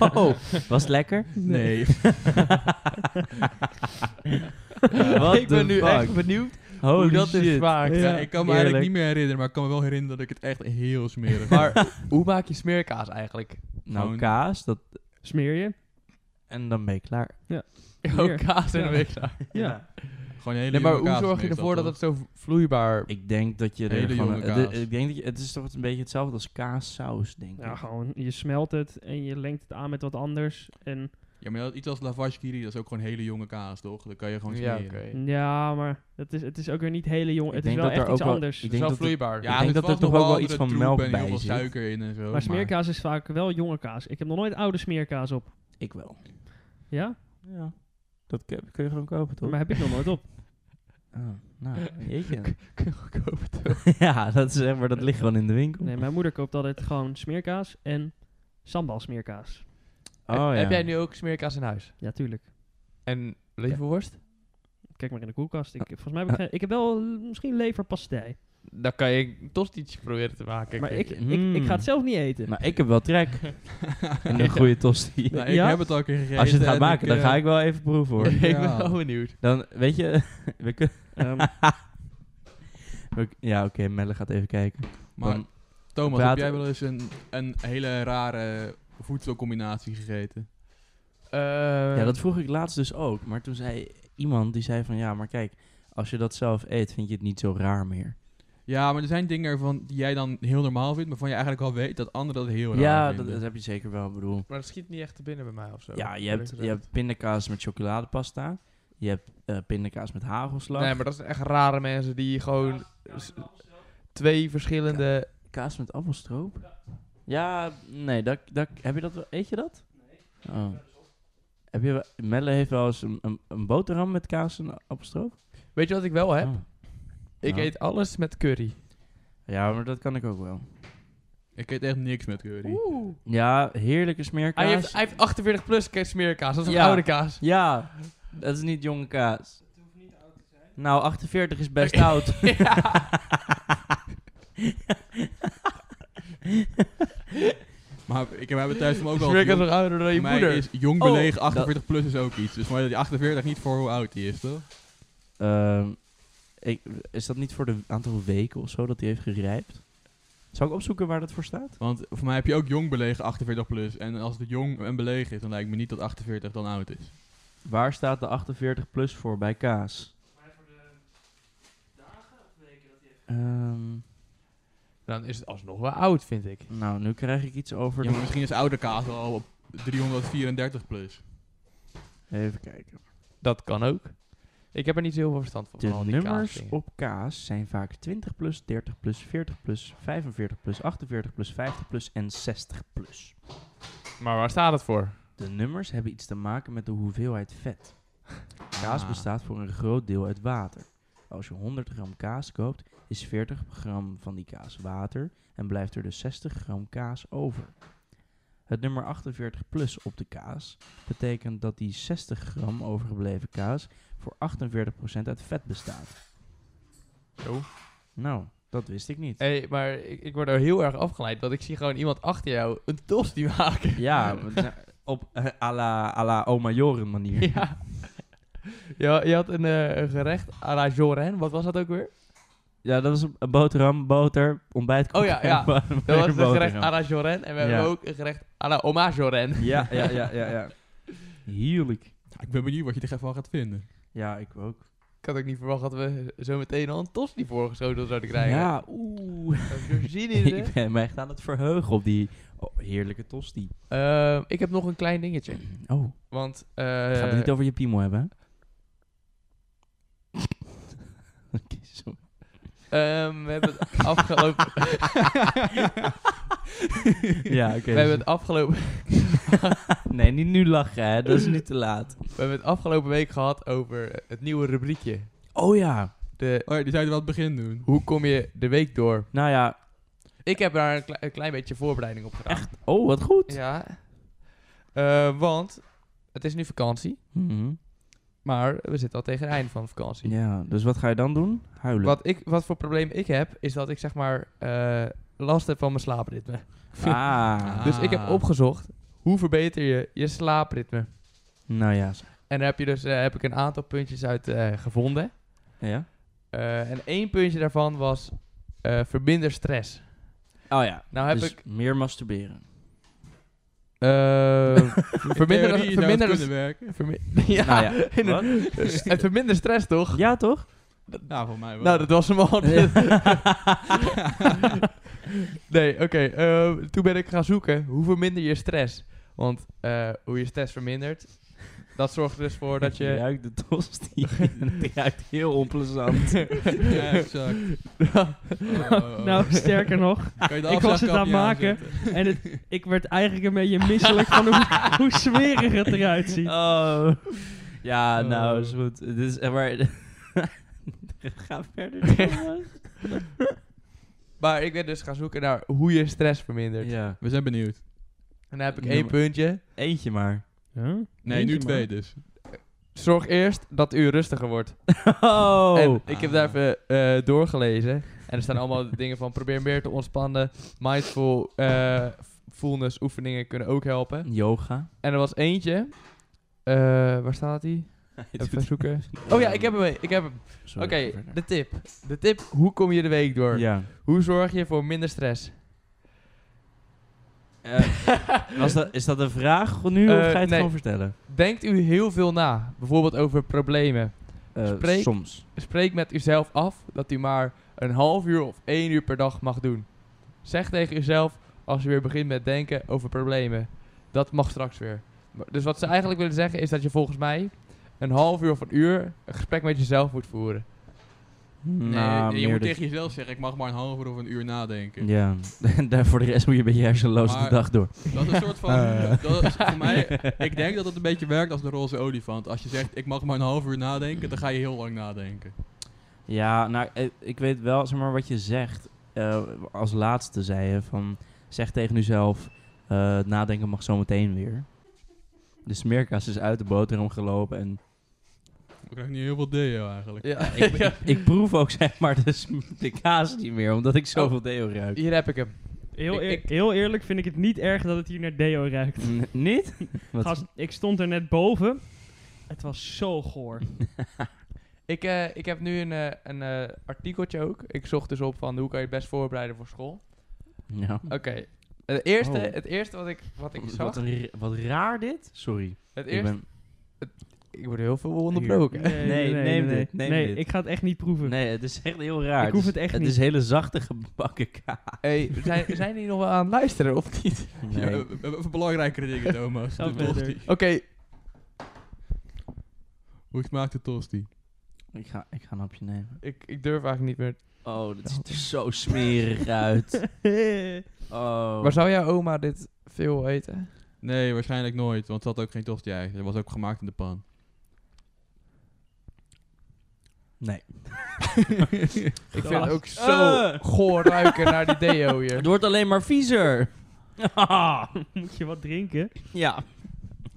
Speaker 2: oh, was het lekker?
Speaker 4: Nee.
Speaker 2: What
Speaker 3: ik ben
Speaker 2: the
Speaker 3: nu
Speaker 2: fuck?
Speaker 3: echt benieuwd
Speaker 2: Holy
Speaker 3: hoe dat
Speaker 2: shit.
Speaker 3: is vaak.
Speaker 4: Ja, ik kan me
Speaker 2: eerlijk.
Speaker 4: eigenlijk niet meer herinneren, maar ik kan me wel herinneren dat ik het echt heel smerig vond.
Speaker 3: Maar hoe maak je smeerkaas eigenlijk?
Speaker 2: Nou,
Speaker 4: Gewoon-
Speaker 2: kaas, dat,
Speaker 1: Smeer je?
Speaker 2: en dan ben je klaar.
Speaker 1: Hier.
Speaker 3: Oh, kaas en
Speaker 1: Ja.
Speaker 3: dan weer klaar.
Speaker 1: Ja.
Speaker 4: Gewoon een hele
Speaker 3: Nee, maar
Speaker 4: jonge
Speaker 3: hoe
Speaker 4: kaas
Speaker 3: zorg je
Speaker 4: meestal,
Speaker 3: ervoor dat
Speaker 4: toch?
Speaker 3: het zo vloeibaar...
Speaker 2: Ik denk dat je er
Speaker 4: Hele
Speaker 2: gewoon...
Speaker 4: jonge
Speaker 2: het-
Speaker 4: kaas.
Speaker 2: ik denk dat je, het is toch een beetje hetzelfde als kaassaus, denk ik.
Speaker 1: Ja, gewoon, je smelt het en je lengt het aan met wat anders. En
Speaker 4: Ja, maar dat- iets als lavashkiri, dat is ook gewoon hele jonge kaas, toch? Dat kan je gewoon
Speaker 3: ja,
Speaker 4: smeren.
Speaker 3: oké.
Speaker 1: ja, maar het is, het is ook weer niet hele jong.
Speaker 2: Ik
Speaker 1: Het is
Speaker 2: denk
Speaker 1: wel
Speaker 2: dat er
Speaker 1: echt iets
Speaker 2: ook wel-
Speaker 1: anders.
Speaker 2: ik
Speaker 3: Het is
Speaker 2: denk
Speaker 3: wel
Speaker 2: dat het-
Speaker 3: vast vloeibaar.
Speaker 2: denk
Speaker 4: zit
Speaker 2: dat er
Speaker 4: vast
Speaker 2: toch
Speaker 4: nog
Speaker 2: ook wel
Speaker 4: andere
Speaker 2: iets van
Speaker 4: troep
Speaker 2: melk
Speaker 4: en
Speaker 2: bij
Speaker 4: heel veel
Speaker 2: zit.
Speaker 4: suiker in en zo.
Speaker 1: maar smeerkaas is vaak wel jonge kaas. Ik heb nog nooit oude smeerkaas op.
Speaker 2: Ik wel.
Speaker 1: Ja?
Speaker 2: Ja. Dat kun, kun je gewoon kopen, toch?
Speaker 1: Maar heb ik nog nooit op.
Speaker 2: Ah, nou, jeetje.
Speaker 3: Kun je goedkoop het doen?
Speaker 2: ja, dat is echt, maar dat ligt gewoon in de winkel.
Speaker 1: Nee, mijn moeder koopt altijd gewoon smeerkaas en sambal smeerkaas.
Speaker 2: Oh, ja.
Speaker 3: Heb jij nu ook smeerkaas in huis?
Speaker 1: Ja, tuurlijk.
Speaker 3: En leverworst?
Speaker 1: Kijk maar in de koelkast.
Speaker 2: Ah.
Speaker 1: Ik, volgens mij heb ik, geen- ik heb wel eh, misschien leverpastei.
Speaker 3: Dan kan je een tostietje proberen te maken.
Speaker 1: Maar ik,
Speaker 3: Kijk, Hmm.
Speaker 1: ik,
Speaker 2: Mm.
Speaker 1: ik ga het zelf niet eten.
Speaker 2: Nou, ik heb wel trek. En een goede tosti.
Speaker 4: Nou,
Speaker 1: Ja?
Speaker 4: ik heb het al een keer gegeten.
Speaker 2: Als je het gaat
Speaker 4: en
Speaker 2: maken, dan
Speaker 4: eh,
Speaker 2: ga ik wel even proeven, hoor.
Speaker 3: ik ben
Speaker 4: Ja.
Speaker 3: wel benieuwd.
Speaker 2: Dan, weet je... we kun-
Speaker 1: Ehm,
Speaker 2: we- ja, oké, Melle gaat even kijken.
Speaker 4: Maar
Speaker 2: Dan-
Speaker 4: Thomas,
Speaker 2: praten-
Speaker 4: heb jij wel eens een, een hele rare voedselcombinatie gegeten?
Speaker 3: Ehm,
Speaker 2: Ja,
Speaker 3: Eh.
Speaker 2: dat vroeg ik laatst dus ook. Maar toen zei iemand, die zei van... Ja, maar kijk, als je dat zelf eet, vind je het niet zo raar meer.
Speaker 4: Ja, maar er zijn dingen ervan die jij dan heel normaal vindt, maar van je eigenlijk al weet dat anderen dat heel raar
Speaker 2: ja, dat,
Speaker 4: vinden.
Speaker 2: dat heb je zeker wel, ik bedoel.
Speaker 3: Maar dat schiet niet echt te binnen bij mij of zo.
Speaker 2: Ja, je
Speaker 3: eerlijk
Speaker 2: hebt, je
Speaker 3: gezegd.
Speaker 2: hebt pindakaas met chocoladepasta. Je hebt eh, pindakaas met hagelslag.
Speaker 3: Nee, maar dat zijn echt rare mensen die gewoon s- twee verschillende...
Speaker 2: Kaas met appelstroop. Ja, nee, dat, dat, heb je dat wel? Eet je dat? Nee. Heb je, wel- Melle heeft wel eens een, een, een boterham met kaas en appelstroop.
Speaker 3: Weet je wat ik wel heb?
Speaker 2: Oh.
Speaker 3: Ik
Speaker 2: Ja.
Speaker 3: eet alles met curry.
Speaker 2: Ja, maar dat kan ik ook wel.
Speaker 4: Ik eet echt niks met curry.
Speaker 3: Oeh.
Speaker 2: Ja, heerlijke
Speaker 3: Hij
Speaker 2: smeerkaas.
Speaker 3: heeft, hij heeft 48 plus ke- smeerkaas. Dat is een
Speaker 2: Ja.
Speaker 3: oude kaas.
Speaker 2: Ja, dat is niet jonge kaas. Het hoeft niet oud te zijn. Nou, 48 is best oud.
Speaker 4: Maar ik heb hebben thuis hem ook al.
Speaker 3: Smeerkaas is
Speaker 4: jong-
Speaker 3: nog ouder dan je
Speaker 4: mij
Speaker 3: moeder.
Speaker 4: is jong
Speaker 2: Oh,
Speaker 4: belegen 48 plus is ook iets. Dus maar die 48 niet voor hoe oud die is, toch?
Speaker 2: Ehm, ik, is dat niet voor de aantal weken of zo dat hij heeft gerijpt? Zou ik opzoeken waar dat voor staat?
Speaker 4: Want voor mij heb je ook jong belegen 48 plus. En als het jong en belegen is, dan lijkt me niet dat 48 dan oud is.
Speaker 2: Waar staat de 48 plus voor bij kaas? Ehm,
Speaker 3: Dan is het alsnog wel oud, vind ik.
Speaker 2: nou, nu krijg ik iets over.
Speaker 4: Ja,
Speaker 2: de-
Speaker 4: maar misschien is oude kaas al op 334 plus.
Speaker 2: Even kijken.
Speaker 3: Dat kan ook. Ik heb er niet zo heel veel verstand van.
Speaker 2: De
Speaker 3: van al die
Speaker 2: nummers
Speaker 3: kaasdingen.
Speaker 2: op kaas zijn vaak 20 plus, 30 plus, 40 plus, 45 plus, 48 plus, 50 plus en 60 plus.
Speaker 3: Maar waar staat het voor?
Speaker 2: De nummers hebben iets te maken met de hoeveelheid vet. Kaas
Speaker 4: Ah.
Speaker 2: bestaat voor een groot deel uit water. Als je 100 gram kaas koopt, is 40 gram van die kaas water en blijft er dus 60 gram kaas over. Het nummer 48 plus op de kaas betekent dat die 60 gram overgebleven kaas voor 48% uit vet bestaat.
Speaker 3: Zo.
Speaker 2: Nou, dat wist ik niet.
Speaker 3: Hé, maar ik, ik word er heel erg afgeleid, want ik zie gewoon iemand achter jou een tosti maken.
Speaker 2: Ja, want, eh, op eh, à la, à la oma Joren manier.
Speaker 3: ja. Je, je had een eh, een gerecht à la Joren, wat was dat ook weer?
Speaker 2: Ja, dat was een- een boterham, boter, ontbijtkoek.
Speaker 3: Oh ja, ja.
Speaker 2: en wa- weer
Speaker 3: Dat was een
Speaker 2: boterham.
Speaker 3: gerecht à la Joren en we
Speaker 2: Ja.
Speaker 3: hebben ook een gerecht à la Oma Joren.
Speaker 2: Ja, ja, ja, ja, ja. Heerlijk.
Speaker 4: Ja, ik ben benieuwd wat je er echt van gaat vinden.
Speaker 2: Ja, ik ook.
Speaker 3: Ik had ook niet verwacht dat we zo meteen al een tos die voorgeschoten zouden krijgen.
Speaker 2: Ja, oeh.
Speaker 3: Heb je er zin in, zeg?
Speaker 2: ik ben me echt aan het verheugen op die oh, heerlijke tosti.
Speaker 3: Eh, ik heb nog een klein dingetje.
Speaker 2: Oh,
Speaker 3: Want
Speaker 2: we gaan
Speaker 3: eh
Speaker 2: het niet over je piemel hebben, hè? Oké, sorry.
Speaker 3: ehm, we hebben het afgelopen...
Speaker 2: ja, oké. dus-
Speaker 3: we hebben het afgelopen...
Speaker 2: Nee, niet nu lachen, hè. Dat is niet te laat.
Speaker 3: We hebben het afgelopen week gehad over het nieuwe rubriekje.
Speaker 2: Oh ja.
Speaker 3: De,
Speaker 4: Oh ja, die zouden we aan het begin doen.
Speaker 3: hoe kom je de week door?
Speaker 2: Nou ja,
Speaker 3: Ik heb daar een, kle- een klein beetje voorbereiding op gedaan. Echt?
Speaker 2: oh, wat goed.
Speaker 3: Ja. Eh, want het is nu vakantie,
Speaker 2: Mhm.
Speaker 3: maar we zitten al tegen het einde van de vakantie.
Speaker 2: Ja, dus wat ga je dan doen? Huilen.
Speaker 3: Wat, ik, wat voor probleem ik heb, is dat ik zeg maar eh, last heb van mijn slaapritme.
Speaker 2: Ah.
Speaker 3: Dus ik heb
Speaker 4: Ah.
Speaker 3: opgezocht, hoe verbeter je je slaapritme?
Speaker 2: Nou ja. zeg.
Speaker 3: En daar heb, je dus, eh, heb ik een aantal puntjes uit eh, gevonden.
Speaker 2: Ja?
Speaker 3: Eh, en één puntje daarvan was, eh, verminder stress.
Speaker 2: Oh ja.
Speaker 3: Nou heb
Speaker 2: dus
Speaker 3: ik...
Speaker 2: meer masturberen.
Speaker 3: eh verminderen,
Speaker 4: Theorie zou het
Speaker 3: verminderen,
Speaker 4: kunnen werken.
Speaker 3: Vermi- ja,
Speaker 2: Nou ja,
Speaker 3: en
Speaker 2: wat?
Speaker 3: het vermindert stress, toch?
Speaker 2: Ja, toch?
Speaker 4: Nou, voor mij wel.
Speaker 3: Nou, dat was hem al. nee, oké. eh, toen ben ik gaan zoeken, hoe verminder je stress? Want eh, hoe je stress vermindert, dat zorgt er dus voor dat
Speaker 2: Je
Speaker 3: je...
Speaker 2: ruikt de tosti. Het ruikt heel onplezant.
Speaker 4: Ja, exact. Oh, oh, oh.
Speaker 1: Nou, sterker nog.
Speaker 4: Kan je de
Speaker 1: ik was het aan het
Speaker 4: afslagkapje
Speaker 1: maken
Speaker 4: aanzetten?
Speaker 1: en het, ik werd eigenlijk een beetje misselijk van hoe, hoe smerig het eruit ziet.
Speaker 2: Oh. Ja, nou,
Speaker 3: Oh.
Speaker 2: is goed. Dit is echt maar... Ga verder. jongens.
Speaker 3: Maar ik ben dus gaan zoeken naar hoe je stress vermindert.
Speaker 2: ja.
Speaker 4: We zijn benieuwd.
Speaker 3: En dan heb ik
Speaker 2: Ja,
Speaker 3: één
Speaker 2: maar-
Speaker 3: puntje.
Speaker 2: Eentje maar.
Speaker 1: Huh?
Speaker 4: Nee,
Speaker 1: Eentje
Speaker 4: nu
Speaker 1: maar.
Speaker 4: twee dus.
Speaker 3: Zorg eerst dat u rustiger wordt.
Speaker 2: Oh.
Speaker 3: en ik heb daar
Speaker 4: Ah.
Speaker 3: even eh, doorgelezen. En er staan allemaal dingen van probeer meer te ontspannen. Mindful eh, fullness oefeningen kunnen ook helpen.
Speaker 2: Yoga.
Speaker 3: En er was eentje. Eh, waar staat die? Even zoeken. Oh ja, ik heb hem. Ik heb hem. Oké,
Speaker 2: Sorry, ga verder.
Speaker 3: de tip. De tip, hoe kom je de week door?
Speaker 2: Ja.
Speaker 3: Hoe zorg je voor minder stress?
Speaker 2: Eh, was dat, is dat een vraag nu of
Speaker 3: Eh,
Speaker 2: ga je het
Speaker 3: nee.
Speaker 2: gewoon vertellen?
Speaker 3: Denkt u heel veel na, bijvoorbeeld over problemen.
Speaker 2: Eh,
Speaker 3: Spreek-
Speaker 2: Soms.
Speaker 3: Spreek met uzelf af dat u maar een half uur of één uur per dag mag doen. Zeg tegen uzelf als u weer begint met denken over problemen. Dat mag straks weer. Maar- Dus wat ze eigenlijk willen zeggen is dat je volgens mij een half uur of een uur een gesprek met jezelf moet voeren.
Speaker 4: Nee,
Speaker 2: Nou,
Speaker 4: je
Speaker 2: meer
Speaker 4: moet
Speaker 2: dat-
Speaker 4: tegen jezelf zeggen, ik mag maar een half uur of een uur nadenken.
Speaker 2: Ja, en daar voor de rest moet je een beetje hersenloos de
Speaker 4: Maar-
Speaker 2: dag door.
Speaker 4: Dat is een soort van...
Speaker 2: Eh.
Speaker 4: Dat is voor mij, ik denk dat het een beetje werkt als de roze olifant. Als je zegt, ik mag maar een half uur nadenken, dan ga je heel lang nadenken.
Speaker 2: Ja, nou, eh, ik weet wel, zeg maar, wat je zegt. eh, als laatste zei je van, zeg tegen jezelf, eh, het nadenken mag zo meteen weer. De smeerkast is uit de boterham gelopen en
Speaker 4: Ik krijg niet heel veel deo eigenlijk.
Speaker 3: Ja,
Speaker 2: ik, ik, ik proef ook, zeg maar, de, sm- de kaas niet meer, omdat ik zoveel deo ruik.
Speaker 3: Hier heb ik hem.
Speaker 1: Heel,
Speaker 3: Ik-
Speaker 1: eer-
Speaker 3: ik-
Speaker 1: heel eerlijk vind ik het niet erg dat het hier naar deo ruikt.
Speaker 2: N- niet? Wat?
Speaker 1: Gast, ik stond er net boven. Het was zo goor.
Speaker 3: Ik, eh, ik heb nu een, eh, een eh, artikeltje ook. Ik zocht dus op van hoe kan je het best voorbereiden voor school.
Speaker 2: Ja.
Speaker 3: Oké. Het eerste,
Speaker 2: Oh.
Speaker 3: het eerste wat ik, wat eh, ik zag...
Speaker 2: Wat, een ra- wat raar dit. Sorry.
Speaker 3: Het
Speaker 2: Ik
Speaker 3: eerste,
Speaker 2: ben,
Speaker 3: ik word heel veel onderbroken.
Speaker 2: Nee, neem dit, neem
Speaker 1: nee
Speaker 2: dit.
Speaker 1: ik ga het echt niet proeven.
Speaker 2: nee, het is echt heel raar.
Speaker 1: Ik hoef
Speaker 2: is-
Speaker 1: het echt
Speaker 2: Het
Speaker 1: niet.
Speaker 2: is hele zachte gebakken kaas.
Speaker 3: Hey, zijn, zijn die nog wel aan het luisteren of niet?
Speaker 4: Ja, we- we hebben even belangrijkere dingen, Thomas.
Speaker 1: Ga
Speaker 4: De tosti.
Speaker 1: verder.
Speaker 3: Oké,
Speaker 4: Hoe smaakt de tosti?
Speaker 2: Ik ga, ik ga een hapje nemen.
Speaker 3: ik, ik durf eigenlijk niet meer.
Speaker 2: Oh, dat ziet er zo smerig uit. Oh.
Speaker 3: Maar zou jouw oma dit veel eten?
Speaker 4: Nee, waarschijnlijk nooit, want het had ook geen tosti eigenlijk. Het was ook gemaakt in de pan.
Speaker 2: Nee.
Speaker 3: Ik vind
Speaker 1: Gast.
Speaker 3: het ook zo
Speaker 2: Eh.
Speaker 3: goor ruiken naar die deo
Speaker 2: Het
Speaker 3: hier.
Speaker 2: wordt alleen maar viezer.
Speaker 1: Moet je wat drinken?
Speaker 2: ja.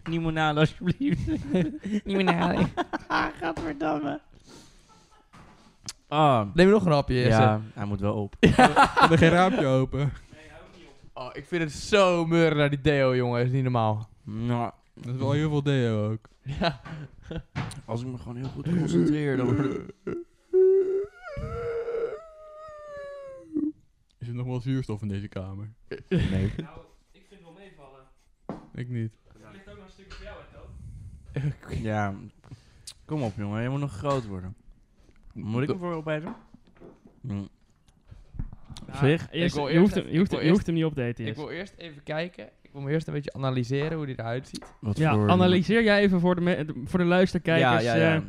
Speaker 2: Limonade alsjeblieft.
Speaker 3: Niet meer naar.
Speaker 2: Gadverdamme. Ah.
Speaker 3: Neem nog een hapje. Jesse.
Speaker 2: Ja, hij moet wel op.
Speaker 4: Had er geen raampje open.
Speaker 3: Oh, ik vind het zo meuren naar die deo, jongen. is niet normaal.
Speaker 2: Nou,
Speaker 4: Dat is wel heel veel deo ook.
Speaker 3: Ja.
Speaker 2: als ik me gewoon heel goed concentreer, dan wordt het...
Speaker 4: Is er nog wel zuurstof in deze kamer?
Speaker 2: Nee.
Speaker 1: Nou, Ik vind het wel meevallen.
Speaker 4: Ik niet.
Speaker 1: Er ligt ook nog een stukje bij jou uit,
Speaker 2: Ja, kom op jongen, je moet nog groot worden. Moet ik hem voor je opeten? Mm.
Speaker 1: Ja,
Speaker 2: Zeg,
Speaker 1: eerst-
Speaker 3: wil
Speaker 1: je,
Speaker 3: eerst
Speaker 1: hoeft
Speaker 3: even-
Speaker 1: hem, je, hoeft,
Speaker 3: ik wil
Speaker 1: je hoeft hem niet op te eten.
Speaker 3: Ik
Speaker 1: Jess.
Speaker 3: wil eerst even kijken. Ik wil me eerst een beetje analyseren hoe die eruit ziet.
Speaker 2: wat
Speaker 1: Ja,
Speaker 2: voor-
Speaker 1: analyseer jij even voor de, me- de- voor de luisterkijkers.
Speaker 2: Ja, ja, ja.
Speaker 1: eh,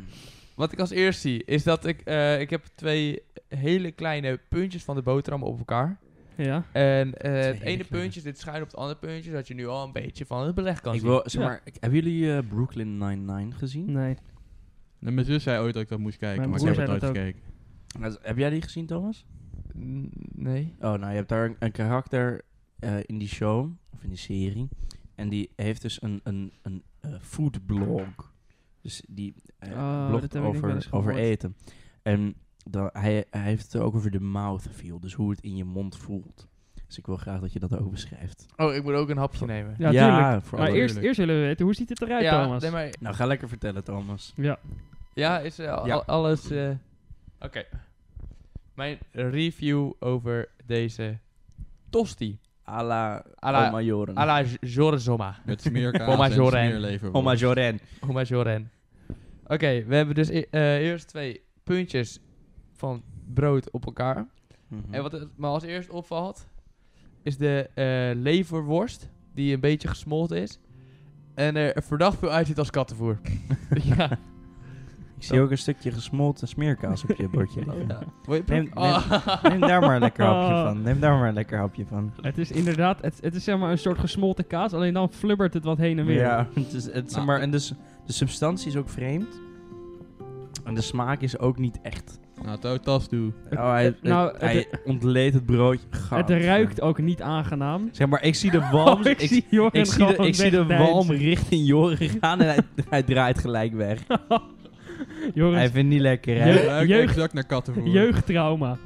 Speaker 3: Wat ik als eerst zie, is dat ik... eh, ik heb twee hele kleine puntjes van de boterham op elkaar.
Speaker 1: ja.
Speaker 3: En eh, het
Speaker 2: hele
Speaker 3: ene
Speaker 2: kleine.
Speaker 3: puntje zit schuin op het andere puntje, zodat je nu al een beetje van het beleg kan
Speaker 2: ik
Speaker 3: zien.
Speaker 2: wil, zeg
Speaker 1: Ja.
Speaker 2: maar, ik- hebben jullie eh, Brooklyn Nine-Nine gezien?
Speaker 1: Nee.
Speaker 4: Nou, mijn zus zei ooit dat ik dat moest kijken,
Speaker 1: Mijn
Speaker 4: maar ik
Speaker 1: broer
Speaker 4: heb het nooit
Speaker 1: zei dat
Speaker 4: gekeken.
Speaker 1: Hm.
Speaker 2: Nou, Heb jij die gezien, Thomas?
Speaker 3: N- Nee.
Speaker 2: Oh, nou, je hebt daar een, een karakter eh, in die show, of in die serie. En die heeft dus een, een, een eh, foodblog. Dus die eh,
Speaker 1: Oh,
Speaker 2: blogt
Speaker 1: dat heb ik denk ik wel
Speaker 2: over,
Speaker 1: eens
Speaker 2: over
Speaker 1: gehoord.
Speaker 2: eten. En dan, hij, hij heeft het ook over de mouth feel, dus hoe het in je mond voelt. Dus ik wil graag dat je dat ook beschrijft.
Speaker 3: Oh, ik moet ook een hapje nemen.
Speaker 1: Ja,
Speaker 2: Ja,
Speaker 1: tuurlijk.
Speaker 2: voor
Speaker 1: maar
Speaker 2: alle
Speaker 1: eerst,
Speaker 4: duidelijk.
Speaker 1: eerst willen we weten, hoe ziet het eruit,
Speaker 3: ja,
Speaker 1: Thomas?
Speaker 3: nee, maar
Speaker 2: Nou, ga lekker vertellen, Thomas.
Speaker 1: Ja.
Speaker 3: Ja, is eh, al-
Speaker 2: Ja.
Speaker 3: alles. eh, Oké. Mijn review over deze tosti.
Speaker 2: A la
Speaker 3: Alla-
Speaker 2: Oma Joren.
Speaker 3: A la Jorzoma.
Speaker 4: Met smeerkaas
Speaker 3: Oma
Speaker 4: en
Speaker 3: Joren.
Speaker 4: smeerlever.
Speaker 2: Oma Joren.
Speaker 3: Oma Joren. Oké, we hebben dus e- eh, eerst twee puntjes van brood op elkaar.
Speaker 2: Mhm.
Speaker 3: En wat het me als eerst opvalt, is de eh, leverworst, die een beetje gesmolten is. En er verdacht veel uitziet als kattenvoer. ja.
Speaker 2: Ik zie ook een stukje gesmolten smeerkaas op je bordje liggen.
Speaker 3: ja. Wil je
Speaker 2: Neem-
Speaker 3: proeven? Oh.
Speaker 2: Neem daar maar een lekker hapje
Speaker 1: Oh.
Speaker 2: van. Neem daar maar een lekker hapje van.
Speaker 1: Het is inderdaad, het, het is zeg maar een soort gesmolten kaas, alleen dan flubbert het wat heen en weer.
Speaker 2: Ja, het is, het, is
Speaker 4: Nou.
Speaker 2: maar, en dus de substantie is ook vreemd. En de smaak is ook niet echt.
Speaker 4: Nou, touw tas toe.
Speaker 2: Oh, hij
Speaker 1: het- nou,
Speaker 2: hij ontleed het broodje. Goud.
Speaker 1: Het ruikt ook niet aangenaam.
Speaker 2: Zeg maar, ik zie de walm,
Speaker 1: Oh,
Speaker 2: ik, ik,
Speaker 1: Joren
Speaker 2: zie de,
Speaker 1: gewoon
Speaker 2: ik zie de
Speaker 1: wegdeinzen.
Speaker 2: walm richting Joren gaan en hij, hij draait gelijk weg.
Speaker 1: Joren,
Speaker 2: Hij vindt het niet lekker. hè?
Speaker 1: Je-
Speaker 4: Het ruikt
Speaker 1: jeugd-
Speaker 4: exact naar kattenvoer.
Speaker 1: jeugdtrauma.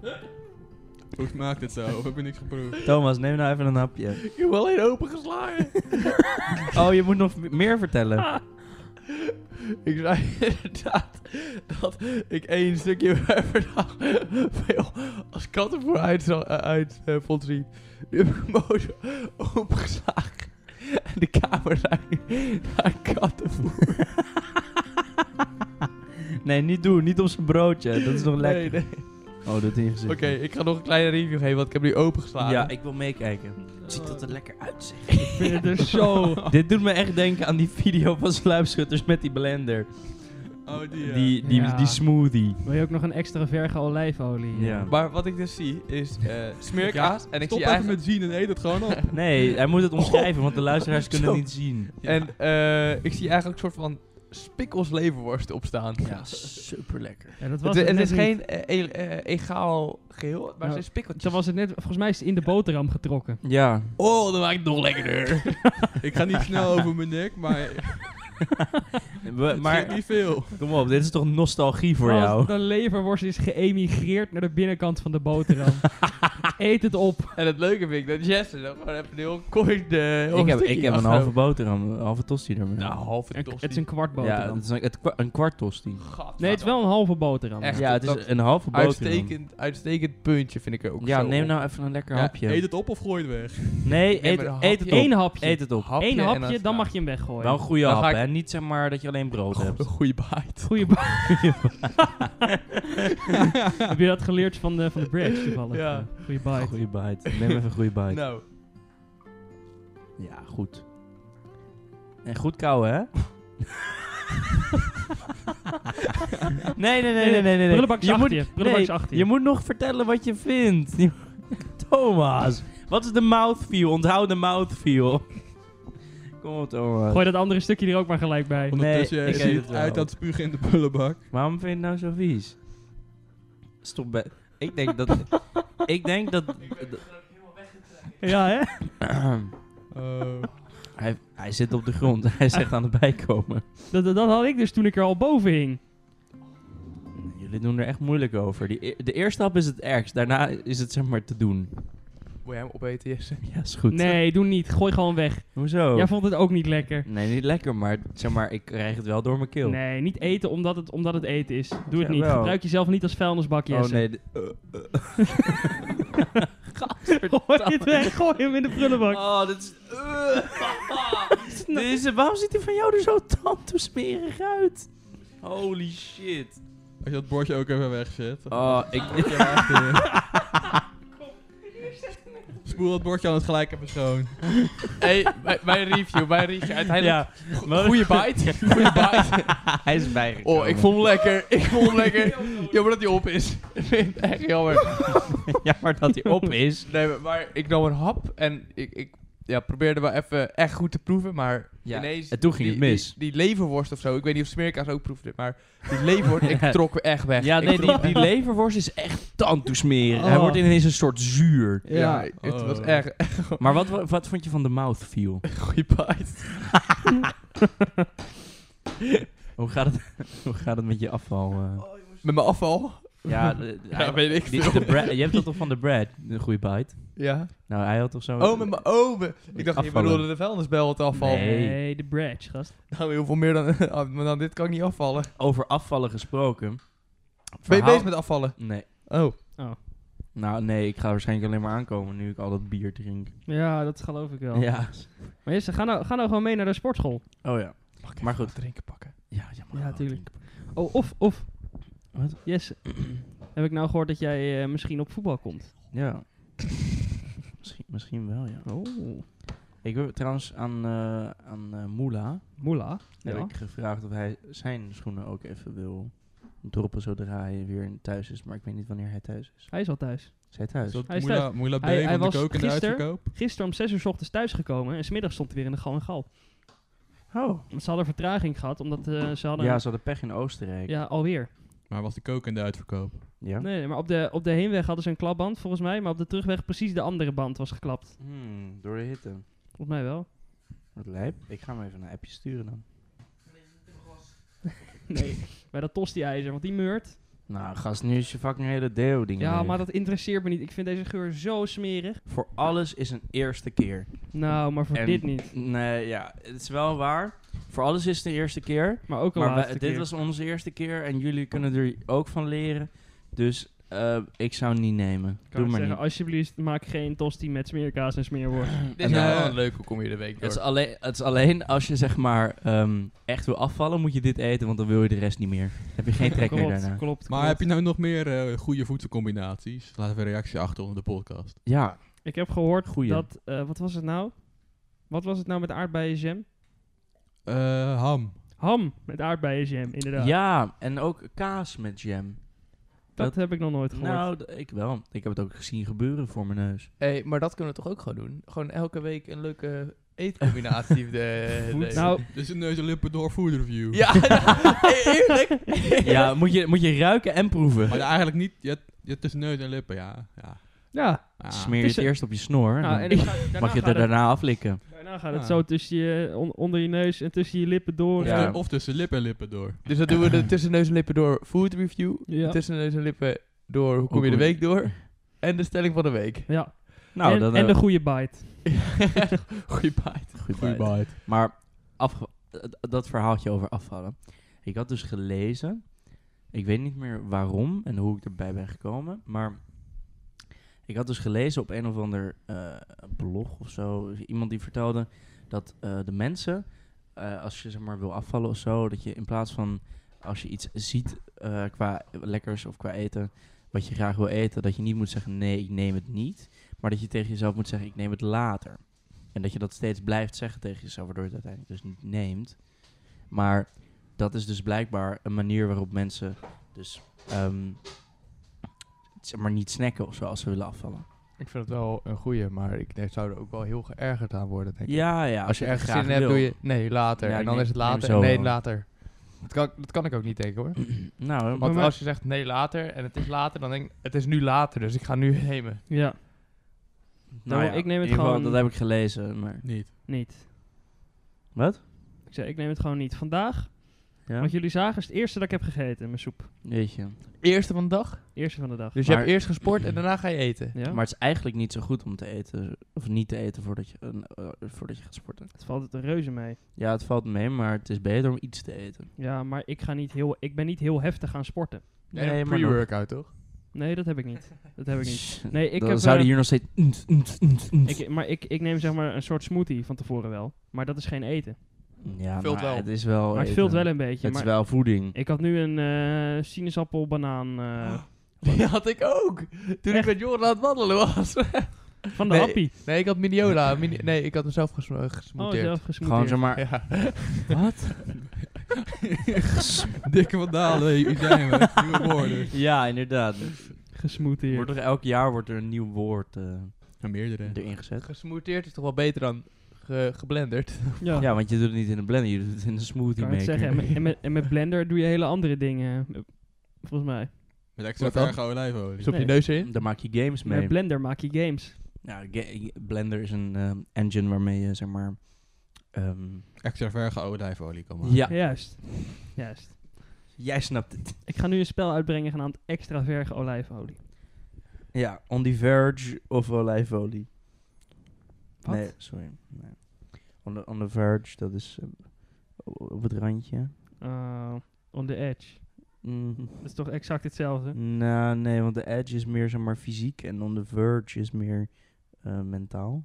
Speaker 4: Hoe smaakt het zo? Of heb je niks geproefd?
Speaker 2: Thomas, neem nou even een hapje.
Speaker 3: Ik heb alleen open geslagen.
Speaker 2: Oh, je moet nog m- meer vertellen.
Speaker 3: Ik zei inderdaad dat ik één stukje per dag veel als kattenvoer uit, zag- eh, uit eh, vond zien. Nu heb ik hem ook opgeslagen. En de kamer ruikt naar kattenvoer.
Speaker 2: Nee, niet doen. Niet op zijn broodje. Dat is nog lekker.
Speaker 3: Nee, nee.
Speaker 2: Oh, dat in je
Speaker 3: Oké,
Speaker 2: gezicht.
Speaker 3: ik ga nog een kleine review geven, want Dus- ik heb nu opengeslagen.
Speaker 2: Ja, ik wil meekijken. Het ziet er lekker uit, zeg.
Speaker 1: Ik vind het dus er zo...
Speaker 2: Oh, Dit doet me echt denken aan die video van Sluipschutters met die blender.
Speaker 4: Oh, die, ja.
Speaker 2: Die, die,
Speaker 1: Ja.
Speaker 2: die smoothie.
Speaker 1: Wil je ook nog een extra verge olijfolie?
Speaker 2: Ja.
Speaker 3: Maar wat ik dus zie is eh smeerkaas. en ik zie
Speaker 4: Stop even
Speaker 3: eigenlijk...
Speaker 4: met zien en eet het gewoon op.
Speaker 2: Nee, hij moet het omschrijven, want de
Speaker 3: Oh,
Speaker 2: luisteraars kunnen het niet zien.
Speaker 3: En eh, ik zie eigenlijk een soort van spikkels leverworst opstaan.
Speaker 2: Ja, super lekker.
Speaker 1: Ja, dat was
Speaker 3: Het,
Speaker 1: het,
Speaker 3: het
Speaker 1: net
Speaker 3: is
Speaker 1: niet.
Speaker 3: geen eh, e- eh, egaal geheel, maar
Speaker 1: Nou,
Speaker 3: ze spikkeltjes.
Speaker 1: Toen was het net, volgens mij is het in de boterham getrokken.
Speaker 2: Ja.
Speaker 3: Oh, dat maakt het nog lekkerder.
Speaker 4: Ik ga niet snel over mijn nek, maar het
Speaker 2: We-
Speaker 4: maar,
Speaker 2: maar
Speaker 4: niet veel.
Speaker 2: kom op, dit is toch nostalgie
Speaker 3: Oh,
Speaker 2: voor
Speaker 1: Als
Speaker 2: jou?
Speaker 1: De leverworst is geëmigreerd naar de binnenkant van de boterham. Eet het op.
Speaker 3: en het leuke vind ik dat Jesse dan gewoon even heel kort eh, de
Speaker 2: Ik heb, ik
Speaker 3: Oh,
Speaker 2: heb een halve boterham, een halve tosti ermee.
Speaker 3: Nou, halve
Speaker 1: Een-
Speaker 3: tosti.
Speaker 1: het is een kwart
Speaker 2: ja,
Speaker 1: boterham.
Speaker 2: het is een, het kwa- een kwart tosti.
Speaker 3: Gadverdamme.
Speaker 1: nee, het is wel een halve boterham.
Speaker 3: Echt.
Speaker 2: Ja, het is
Speaker 3: dat-
Speaker 2: een halve boterham.
Speaker 3: Uitstekend, uitstekend puntje vind ik er ook.
Speaker 2: Ja,
Speaker 3: zo
Speaker 2: neem
Speaker 3: op.
Speaker 2: nou even een lekker
Speaker 4: Ja,
Speaker 2: hapje.
Speaker 4: eet het op of gooi het weg.
Speaker 2: Nee,
Speaker 3: Neem
Speaker 2: eet,
Speaker 3: maar een
Speaker 2: eet het
Speaker 1: Eén
Speaker 2: op.
Speaker 1: hapje.
Speaker 2: Eet het op.
Speaker 3: Hapje
Speaker 1: Eén
Speaker 3: en
Speaker 1: hapje, dan
Speaker 3: klaar.
Speaker 1: mag je hem weggooien.
Speaker 2: Wel een goede
Speaker 3: Dan
Speaker 2: hap,
Speaker 3: ga ik-
Speaker 2: hè? Niet zeg maar dat je alleen brood hebt.
Speaker 3: Een goede bite.
Speaker 1: Goeie ba- Heb je dat geleerd van de, van de bridge toevallig?
Speaker 3: Ja.
Speaker 1: Goeie bite.
Speaker 2: Goeie bite. Neem even een goede bite.
Speaker 3: Nou,
Speaker 2: Ja, goed. En goed kauwen, hè? nee, nee, nee, nee, nee. nee.
Speaker 1: Prullenbak is
Speaker 2: je,
Speaker 1: achter
Speaker 2: moet,
Speaker 1: je. Prullenbak is
Speaker 2: nee,
Speaker 1: achter
Speaker 2: je moet nog vertellen wat je vindt. Je- Thomas, wat is de mouthfeel? Onthoud de mouthfeel. Kom op, Thomas.
Speaker 1: Gooi dat andere stukje er ook maar gelijk bij.
Speaker 4: Ondertussen
Speaker 2: Nee,
Speaker 4: nee,
Speaker 2: ik eet het
Speaker 4: ziet
Speaker 2: wel.
Speaker 4: uit aan het spugen in de bullenbak.
Speaker 2: Waarom vind je het nou zo vies? Stop bij... Ik denk dat... ik denk dat...
Speaker 1: Ja, hè?
Speaker 4: Oh.
Speaker 2: hij, hij zit op de grond. Hij is echt aan het bijkomen.
Speaker 1: Dat, dat, dat had ik dus toen ik er al boven hing.
Speaker 2: Jullie doen er echt moeilijk over. Die, e- de eerste hap is het ergst. Daarna is het zeg maar te doen.
Speaker 3: moet je hem opeten, Jesse?
Speaker 2: Ja, is goed. Oh.
Speaker 1: Nee, doe niet. Gooi gewoon weg.
Speaker 2: Hoezo?
Speaker 1: Jij vond het ook niet lekker.
Speaker 2: nee, niet lekker, maar zeg maar, ik krijg het wel door mijn keel.
Speaker 1: Nee, niet eten omdat het, omdat het eten is. Doe het
Speaker 2: Ja,
Speaker 1: niet.
Speaker 2: wel.
Speaker 1: Gebruik jezelf niet als vuilnisbak,
Speaker 2: Oh
Speaker 1: Jesse.
Speaker 2: nee. de- eh, eh. Gast.
Speaker 1: Gooi het weg, gooi hem in de prullenbak.
Speaker 2: Oh, dit is... Dit is- waarom ziet hij van jou er zo tandtoesmerig uit? Holy shit.
Speaker 4: Als je dat bordje ook even wegzet.
Speaker 2: Oh, ik...
Speaker 4: Ja, maar echt, eh. Spoel dat bordje aan het gelijk even schoon.
Speaker 3: hey, mijn- mijn review, mijn review. Uiteindelijk,
Speaker 2: Ja,
Speaker 3: goede goeie bite. Goeie bite.
Speaker 2: hij is bijgekomen.
Speaker 3: Oh, ik vond hem lekker. Ik vond hem lekker. Jammer dat hij op is. Ik vind het echt jammer.
Speaker 2: Ja, maar dat hij op is.
Speaker 3: Nee, maar- maar ik nam een hap en ik, ik ja, probeerde wel even echt goed te proeven, maar
Speaker 2: Ja,
Speaker 3: ineens...
Speaker 2: en toen ging
Speaker 3: die-
Speaker 2: het mis.
Speaker 3: Die, die leverworst of zo, ik weet niet of smeerkaas ook proefde, maar die leverworst, ik
Speaker 2: Ja.
Speaker 3: trok echt weg.
Speaker 2: Ja,
Speaker 3: Ik
Speaker 2: nee,
Speaker 3: trok-
Speaker 2: die, die leverworst is echt tandtoesmerig. Hij
Speaker 1: Oh.
Speaker 2: wordt ineens een soort zuur.
Speaker 3: Ja, het was
Speaker 4: Oh.
Speaker 3: echt echt een
Speaker 2: Maar wat, wat vond je van de mouthfeel?
Speaker 3: goede bite.
Speaker 2: Hoe gaat het, hoe gaat het met je afval? eh?
Speaker 3: Met mijn afval?
Speaker 2: Ja, de-
Speaker 3: Ja, weet ik
Speaker 2: die-
Speaker 3: veel.
Speaker 2: de bra- je hebt dat toch van de bread? Een goede bite.
Speaker 3: Ja.
Speaker 2: Nou, hij had toch zo...
Speaker 3: Oh, met mijn oven. Ik dacht, je
Speaker 2: Afvallen.
Speaker 3: bedoelde de vuilnisbel het afval.
Speaker 2: Nee.
Speaker 1: Nee, de bratch, gast.
Speaker 3: Nou, heel veel meer dan, maar dan dit kan ik niet afvallen.
Speaker 2: Over afvallen gesproken.
Speaker 3: Ben je
Speaker 2: Verhaal-
Speaker 3: bezig met afvallen?
Speaker 2: Nee.
Speaker 3: Oh.
Speaker 2: Nou, nee, ik ga waarschijnlijk alleen maar aankomen nu ik al dat bier drink.
Speaker 1: Ja, dat geloof ik wel.
Speaker 2: Ja.
Speaker 1: Maar eerst, ga nou, ga nou gewoon mee naar de sportschool.
Speaker 2: Oh ja.
Speaker 3: Mag
Speaker 2: Maar goed.
Speaker 3: drinken pakken?
Speaker 2: Ja, ja, maar
Speaker 1: Ja,
Speaker 2: wel
Speaker 1: tuurlijk.
Speaker 2: drinken.
Speaker 1: Oh, of, of.
Speaker 2: Wat?
Speaker 1: Yes. Heb ik nou gehoord dat jij eh, misschien op voetbal komt?
Speaker 2: Ja. misschien, misschien wel, ja.
Speaker 1: Oh.
Speaker 2: Ik heb trouwens aan, eh aan eh, Moela
Speaker 1: Moela.
Speaker 2: heb
Speaker 1: Ja.
Speaker 2: ik gevraagd of hij zijn schoenen ook even wil droppen zodra hij weer thuis is. Maar ik weet niet wanneer hij thuis is.
Speaker 1: Hij is al thuis.
Speaker 2: Is hij thuis?
Speaker 4: Is dat
Speaker 1: Hij is
Speaker 4: Moela,
Speaker 1: thuis.
Speaker 4: Moela B,
Speaker 1: Hij- hij
Speaker 4: vond ik
Speaker 1: was
Speaker 4: ook in de
Speaker 1: gisteren-
Speaker 4: uitverkoop.
Speaker 1: Gisteren om 6 uur 's ochtends thuisgekomen en smiddag stond hij weer in de gal en gal.
Speaker 2: Oh.
Speaker 1: Want ze hadden vertraging gehad, omdat eh, ze hadden...
Speaker 2: Ja, ze hadden pech in Oostenrijk.
Speaker 1: Ja, alweer.
Speaker 4: Maar was de kook in de uitverkoop?
Speaker 2: Ja?
Speaker 1: Nee, nee, maar op de, op de heenweg hadden ze een klapband volgens mij, maar op de terugweg precies de andere band was geklapt.
Speaker 2: Hmm, door de hitte.
Speaker 1: Volgens mij wel.
Speaker 2: Wat lijp. Ik ga hem even een appje sturen dan.
Speaker 1: Nee. Bij dat tosti-ijzer, want die meurt.
Speaker 2: Nou, gast, nu is je fucking hele deo-ding.
Speaker 1: Ja,
Speaker 2: leeg.
Speaker 1: maar dat interesseert me niet. Ik vind deze geur zo smerig.
Speaker 2: Voor alles is een eerste keer.
Speaker 1: Nou, maar voor
Speaker 2: En-
Speaker 1: dit niet.
Speaker 2: Nee, ja, het is wel waar. Voor alles is het de eerste keer.
Speaker 1: Maar ook al
Speaker 2: Maar wij-
Speaker 1: laatste
Speaker 2: dit
Speaker 1: keer.
Speaker 2: was onze eerste keer en jullie kunnen er ook van leren. Dus eh, ik zou hem niet nemen.
Speaker 1: Ik
Speaker 2: Doe
Speaker 1: kan
Speaker 2: maar
Speaker 1: zeggen, oh,
Speaker 2: niet.
Speaker 1: alsjeblieft, maak geen tosti met smeerkaas en smeerworst.
Speaker 3: Dit is
Speaker 2: nou,
Speaker 4: eh,
Speaker 3: wel een leuke kom je de week
Speaker 2: Het is,
Speaker 3: door.
Speaker 2: alleen, het is alleen als je zeg maar ehm, echt wil afvallen, moet je dit eten, want dan wil je de rest niet meer. Dan heb je geen trek meer
Speaker 1: klopt,
Speaker 2: daarna.
Speaker 1: klopt.
Speaker 4: Maar
Speaker 1: klopt.
Speaker 4: heb je nou nog meer eh, goede voedselcombinaties? Laat even een reactie achter onder de podcast.
Speaker 2: Ja,
Speaker 1: Ik heb gehoord
Speaker 2: Goeie.
Speaker 1: dat, eh, wat was het nou? Wat was het nou met aardbeienjam?
Speaker 4: Eh, ham.
Speaker 1: Ham met aardbeienjam, inderdaad.
Speaker 2: ja, en ook kaas met jam.
Speaker 1: dat,
Speaker 2: dat-
Speaker 1: heb ik nog nooit gehoord.
Speaker 2: Nou, d- ik wel. Ik heb het ook gezien gebeuren voor mijn neus.
Speaker 3: Hey, maar dat kunnen we toch ook gewoon doen? Gewoon elke week een leuke eetcombinatie. de,
Speaker 1: Voed-
Speaker 3: de-
Speaker 1: nou,
Speaker 4: Dus een neus en lippen door food review.
Speaker 3: Ja,
Speaker 2: nou,
Speaker 3: eerlijk.
Speaker 2: ja, moet je, moet je ruiken en proeven.
Speaker 4: Maar ja, eigenlijk niet. Je, je tussen neus en lippen, ja. ja.
Speaker 1: ja.
Speaker 4: Ah.
Speaker 2: Smeer je
Speaker 1: Het is
Speaker 2: het eerst op je snor.
Speaker 1: Nou,
Speaker 2: dan
Speaker 1: en ik ga,
Speaker 2: mag
Speaker 1: daarna
Speaker 2: je Ah. het
Speaker 1: gaat
Speaker 2: er
Speaker 1: het,
Speaker 2: daarna aflikken.
Speaker 1: daarna gaat het
Speaker 4: Ja.
Speaker 1: zo tussen je, on- onder je neus en tussen je lippen door.
Speaker 4: Of,
Speaker 2: Ja.
Speaker 4: tu- of tussen lip en lippen door.
Speaker 3: Dus dat doen we de tussen neus en lippen door food review.
Speaker 1: Ja.
Speaker 3: Tussen neus en lippen door hoe kom
Speaker 2: Hoe
Speaker 3: je de
Speaker 2: kom je-
Speaker 3: week door. En de stelling van de week.
Speaker 1: Ja.
Speaker 2: Nou,
Speaker 1: en,
Speaker 2: dan,
Speaker 1: en
Speaker 2: eh,
Speaker 1: de goede bite.
Speaker 3: Goeie bite.
Speaker 2: goeie
Speaker 4: Goeie
Speaker 2: bite.
Speaker 4: bite.
Speaker 2: Maar afge- eh, d- dat verhaaltje over afvallen. Ik had dus gelezen. Ik weet niet meer waarom en hoe ik erbij ben gekomen. Maar ik had dus gelezen op een of ander eh, blog of zo. Iemand die vertelde dat eh, de mensen, eh, als je zeg maar wil afvallen of zo, dat je in plaats van als je iets ziet eh, qua lekkers of qua eten, wat je graag wil eten, dat je niet moet zeggen nee, ik neem het niet. Maar dat je tegen jezelf moet zeggen, ik neem het later. En dat je dat steeds blijft zeggen tegen jezelf, waardoor je het uiteindelijk dus niet neemt. Maar dat is dus blijkbaar een manier waarop mensen dus ehm, zeg maar niet snacken of zo als ze willen afvallen.
Speaker 3: Ik vind het wel een goeie, maar ik denk, zou er ook wel heel geërgerd aan worden, denk ik.
Speaker 2: Ja, ja.
Speaker 3: Als je
Speaker 2: echt
Speaker 3: ergens zin in hebt, doe je... Nee, later.
Speaker 2: Ja,
Speaker 3: en dan
Speaker 2: nee,
Speaker 3: is het
Speaker 2: neem
Speaker 3: later.
Speaker 2: zo
Speaker 3: en nee,
Speaker 2: wel.
Speaker 3: later. Dat kan, dat kan ik ook niet denken, hoor.
Speaker 2: Nou,
Speaker 3: Want
Speaker 1: maar-
Speaker 3: als je zegt nee, later, en het is later, dan denk ik, het is nu later, dus ik ga nu nemen.
Speaker 1: Ja,
Speaker 2: nou
Speaker 1: ik neem het
Speaker 2: in ieder geval,
Speaker 1: gewoon-
Speaker 2: Dat heb ik gelezen, maar...
Speaker 4: Niet.
Speaker 1: niet.
Speaker 2: Wat?
Speaker 1: Ik zei, ik neem het gewoon niet. Vandaag,
Speaker 2: Ja?
Speaker 1: wat jullie zagen, is het eerste dat ik heb gegeten, mijn soep.
Speaker 2: Weet je.
Speaker 3: Eerste van de dag.
Speaker 1: Eerste van de dag.
Speaker 3: Dus je
Speaker 2: Maar-
Speaker 3: hebt eerst gesport en daarna ga je eten.
Speaker 1: Ja,
Speaker 2: Maar het is eigenlijk niet zo goed om te eten, of niet te eten voordat je, een- eh, voordat je gaat sporten.
Speaker 1: het valt het een reuze mee.
Speaker 2: Ja, het valt mee, maar het is beter om iets te eten.
Speaker 1: Ja, maar ik, ga niet heel, ik ben niet heel heftig gaan sporten.
Speaker 3: En
Speaker 2: Nee,
Speaker 3: een
Speaker 2: maar
Speaker 3: pre-workout, toch?
Speaker 1: Nee, dat heb ik niet. Dat heb ik niet. Nee, ik
Speaker 2: Dan
Speaker 1: heb,
Speaker 2: zouden
Speaker 1: eh,
Speaker 2: hier nog steeds... unt, unt, unt, unt.
Speaker 1: Ik, maar ik, ik neem zeg maar een soort smoothie van tevoren wel. Maar dat is geen eten.
Speaker 2: ja,
Speaker 3: vult
Speaker 2: maar
Speaker 3: wel.
Speaker 2: het is wel...
Speaker 1: Maar het
Speaker 2: Oh, eten.
Speaker 1: vult wel een beetje.
Speaker 2: Het is
Speaker 1: maar
Speaker 2: wel voeding.
Speaker 1: Ik had nu een eh, sinaasappel, banaan eh,
Speaker 3: Die had ik ook. Toen ik
Speaker 1: Echt?
Speaker 3: met Joran aan het wandelen was.
Speaker 1: van de
Speaker 3: Nee,
Speaker 1: happy.
Speaker 3: Nee, ik had Miniola. Mini- nee, ik had hem zelf gesm- eh,
Speaker 1: Oh,
Speaker 3: gesmonteerd.
Speaker 1: zelf
Speaker 2: Gewoon
Speaker 1: gesmoeteerd.
Speaker 2: zeg maar...
Speaker 3: Ja.
Speaker 2: Wat?
Speaker 4: Dikke vandalen, hé, wie zijn we? Nieuwe woorden.
Speaker 2: Ja, inderdaad.
Speaker 1: Gesmoeteerd.
Speaker 2: Wordt er elk jaar wordt er een nieuw woord eh,
Speaker 4: Ja, meerdere.
Speaker 2: erin gezet.
Speaker 3: Gesmonteerd is toch wel beter dan ge- geblenderd.
Speaker 1: Ja,
Speaker 2: Ja, want je doet het niet in een blender, je doet het in een smoothie
Speaker 1: kan ik het
Speaker 2: maker.
Speaker 1: zeggen. En met, en, met, en met Blender doe je hele andere dingen. eh, Volgens mij.
Speaker 4: Met extra
Speaker 3: Wat dan?
Speaker 4: verge olijfolie.
Speaker 3: Stop je
Speaker 1: Nee.
Speaker 3: neus in.
Speaker 2: Daar maak je games mee.
Speaker 1: Met Blender maak je games.
Speaker 2: Ja, ge- Blender is een ehm, engine waarmee je zeg maar. ehm,
Speaker 4: Extra verge olijfolie kan maken.
Speaker 2: ja,
Speaker 1: Juist. Juist.
Speaker 2: jij snapt het.
Speaker 1: Ik ga nu een spel uitbrengen genaamd Extra Verge Olijfolie.
Speaker 2: Ja, on the verge of olijfolie.
Speaker 1: Wat?
Speaker 2: Nee, sorry. Nee. On, the, on the verge, dat is ehm, o- op het randje.
Speaker 1: Eh, on the edge.
Speaker 2: Mm,
Speaker 1: Dat is toch exact hetzelfde?
Speaker 2: nou, nee, want de edge is meer zeg maar fysiek en on the verge is meer eh, mentaal.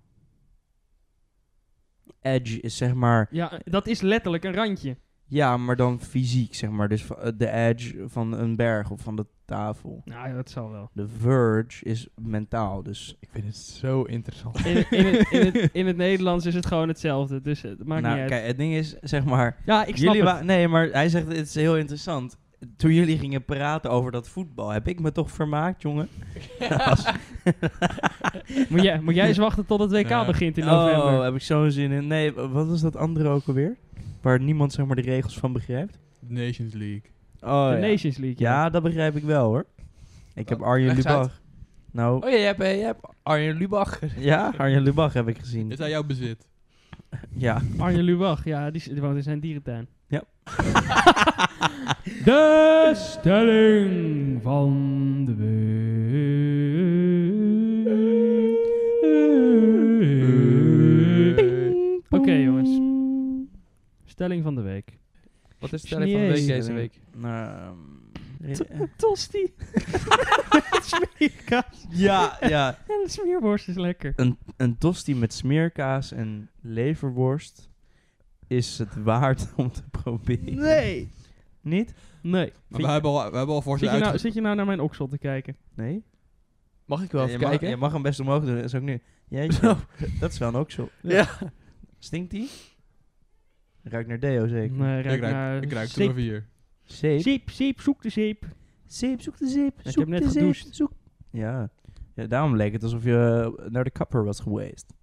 Speaker 2: Edge is zeg maar
Speaker 1: Ja, dat is letterlijk een randje.
Speaker 2: Ja, maar dan fysiek, zeg maar. Dus va- de edge van een berg of van de tafel.
Speaker 1: Nou, ja, dat zal wel.
Speaker 2: De verge is mentaal, dus...
Speaker 3: Ik vind het zo interessant.
Speaker 1: In, in, het, in, het, in het Nederlands is het gewoon hetzelfde, dus het maakt
Speaker 2: nou,
Speaker 1: niet uit.
Speaker 2: kijk, het ding is, zeg maar...
Speaker 1: Ja, ik snap
Speaker 2: jullie
Speaker 1: het.
Speaker 2: wa- Nee, maar hij zegt, het is heel interessant. Toen jullie gingen praten over dat voetbal, heb ik me toch vermaakt, jongen? Als-
Speaker 1: Moet jij, moet jij eens wachten tot het WK
Speaker 4: Ja.
Speaker 1: begint in november.
Speaker 2: oh, heb ik zo'n zin in. Nee, w- wat is dat andere ook alweer? Waar niemand, zeg maar, de regels van begrijpt?
Speaker 4: Nations League.
Speaker 2: Oh,
Speaker 1: de
Speaker 2: ja.
Speaker 1: Nations League.
Speaker 2: Ja, dat begrijp ik wel, hoor. Ik heb
Speaker 3: Wat?
Speaker 2: Arjen
Speaker 3: Leg eens uit.
Speaker 2: Lubach. Nou,
Speaker 3: Oh ja, jij hebt, eh, jij hebt Arjen Lubach.
Speaker 2: ja, Arjen Lubach heb ik gezien.
Speaker 4: Is hij jouw bezit?
Speaker 2: Ja.
Speaker 1: Arjen Lubach, ja, die, s- die woont in zijn dierentuin.
Speaker 2: Ja.
Speaker 1: de stelling van de week. Oké, jongens. Stelling van de week.
Speaker 3: Wat is de stelling van de week
Speaker 1: Jezus.
Speaker 3: deze week?
Speaker 2: Nou, eh,
Speaker 1: Tosti. Smeerkaas.
Speaker 2: ja, ja.
Speaker 1: Ja, de smeerworst is lekker.
Speaker 2: Een, een tosti met smeerkaas en leverworst is het waard om te proberen.
Speaker 1: Nee.
Speaker 2: Niet?
Speaker 1: Nee.
Speaker 4: Maar we hebben, al, we hebben al voor
Speaker 1: Zit
Speaker 4: zijn
Speaker 1: je, nou,
Speaker 4: uitge-
Speaker 1: zit je nou naar mijn oksel te kijken?
Speaker 2: Nee?
Speaker 3: Mag ik wel
Speaker 2: je,
Speaker 3: even
Speaker 2: mag,
Speaker 3: kijken?
Speaker 2: je mag hem best omhoog doen, dat is ook nu. Jeetje, dat is wel een oksel.
Speaker 3: Ja.
Speaker 2: Stinkt die? Ruikt naar deo zeker.
Speaker 1: Nee,
Speaker 4: Ik ruik, ik ruik troef hier.
Speaker 2: Zeep.
Speaker 1: Zeep, zeep, zoek de zeep.
Speaker 2: Zeep, zoek de zeep.
Speaker 1: heb
Speaker 2: zoek
Speaker 1: net
Speaker 2: de zeep,
Speaker 1: gedoucht.
Speaker 2: Zoek. Ja. ja, daarom leek het alsof je eh, naar de kapper was geweest.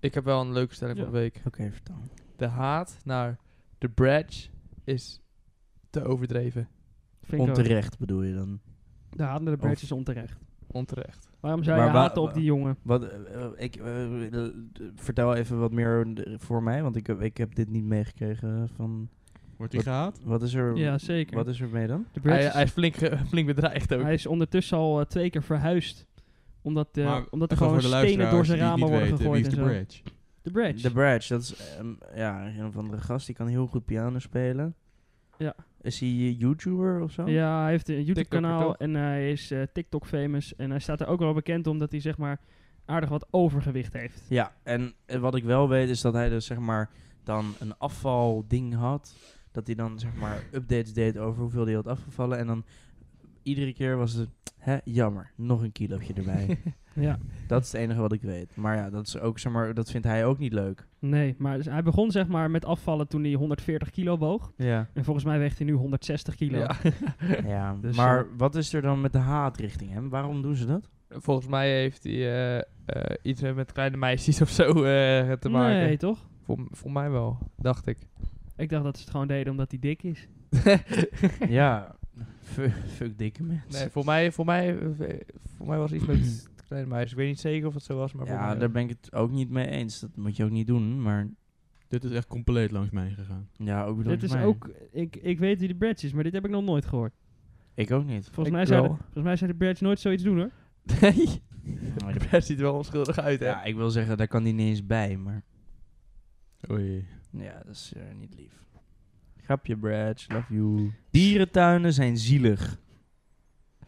Speaker 3: Ik heb wel een leuke stelling
Speaker 1: Ja.
Speaker 3: van de week.
Speaker 2: Oké, vertel.
Speaker 3: De haat naar de Bradge is te overdreven.
Speaker 1: Vind ik ook.
Speaker 2: Onterecht bedoel je dan?
Speaker 1: De haat naar de Birds is onterecht.
Speaker 3: Onterecht.
Speaker 1: Waarom zou
Speaker 2: Maar
Speaker 1: je
Speaker 2: wa-
Speaker 1: haten op
Speaker 2: wa-
Speaker 1: die jongen?
Speaker 2: Wat, eh, eh, ik, eh, eh, eh, vertel even wat meer eh, voor mij, want ik, heb- ik heb dit niet meegekregen van...
Speaker 4: Wordt hij gehaat?
Speaker 2: Wat is er,
Speaker 1: Ja, zeker.
Speaker 2: wat is er mee dan?
Speaker 1: de Birds
Speaker 3: Hij,
Speaker 1: is,
Speaker 3: hij
Speaker 1: hij,
Speaker 3: is flink, ge- flink bedreigd ook.
Speaker 1: is ondertussen al eh, twee keer verhuisd. Omdat, eh,
Speaker 4: Maar
Speaker 1: omdat er
Speaker 4: Even
Speaker 1: gewoon
Speaker 4: voor de
Speaker 1: stenen
Speaker 4: luisteraars
Speaker 1: door zijn
Speaker 4: die het
Speaker 1: ramen
Speaker 4: niet
Speaker 1: worden gegooid.
Speaker 4: weten, Wie
Speaker 1: En
Speaker 4: is de
Speaker 1: zo.
Speaker 4: bridge?
Speaker 1: De Bridge.
Speaker 2: De Bradge, dat is ehm, ja, een of andere gast, die kan heel goed piano spelen.
Speaker 1: Ja.
Speaker 2: Is hij eh, YouTuber of zo?
Speaker 1: ja, hij heeft een YouTube-kanaal
Speaker 3: TikToker,
Speaker 1: en hij is eh, TikTok-famous. En hij staat er ook wel bekend om dat hij zeg maar aardig wat overgewicht heeft.
Speaker 2: Ja, en eh, wat ik wel weet is dat hij dus zeg maar dan een afvalding had. Dat hij dan zeg maar updates deed over hoeveel hij had afgevallen. En dan iedere keer was het, hè, jammer, nog een kilootje erbij.
Speaker 1: Ja,
Speaker 2: dat is het enige wat ik weet. Maar ja, dat, is ook, zeg maar, dat vindt hij ook niet leuk.
Speaker 1: nee. Maar dus hij begon zeg maar met afvallen toen hij 140 kilo woog.
Speaker 2: Ja.
Speaker 1: En volgens mij weegt hij nu 160 kilo.
Speaker 3: Ja.
Speaker 2: ja.
Speaker 1: Dus,
Speaker 2: maar wat is er dan met de haat richting hem? Waarom doen ze dat?
Speaker 3: Volgens mij heeft hij eh, eh, iets met- met kleine meisjes of zo eh, te maken.
Speaker 1: Nee, toch?
Speaker 3: Vol, voor mij wel, dacht ik.
Speaker 1: Ik dacht dat ze het gewoon deden omdat hij dik is.
Speaker 2: ja, fuck, fuck dikke mensen.
Speaker 3: Nee, voor mij, voor mij, eh, voor mij was het iets met kleine meisjes. Ik weet niet zeker of het zo was, maar voor
Speaker 2: ja,
Speaker 3: mij
Speaker 2: daar ben ik het ook niet mee eens. Dat moet je ook niet doen, maar...
Speaker 4: Dit is echt compleet langs mij gegaan.
Speaker 2: Ja, ook bedoel
Speaker 1: Dit is ook, ik, ik weet wie de Bradge is, maar dit heb ik nog nooit gehoord.
Speaker 2: Ik ook niet.
Speaker 1: Volgens,
Speaker 3: Ik
Speaker 1: mij zou, de,
Speaker 3: wel.
Speaker 1: volgens mij zou de Bradge nooit zoiets doen hoor.
Speaker 3: Nee, de pers ziet er wel onschuldig uit, hè?
Speaker 2: Ja, ik wil zeggen, daar kan hij niet eens bij, maar...
Speaker 4: Oei.
Speaker 2: Ja, dat is eh, niet lief. Grapje, Brad. Love you. Dierentuinen zijn zielig.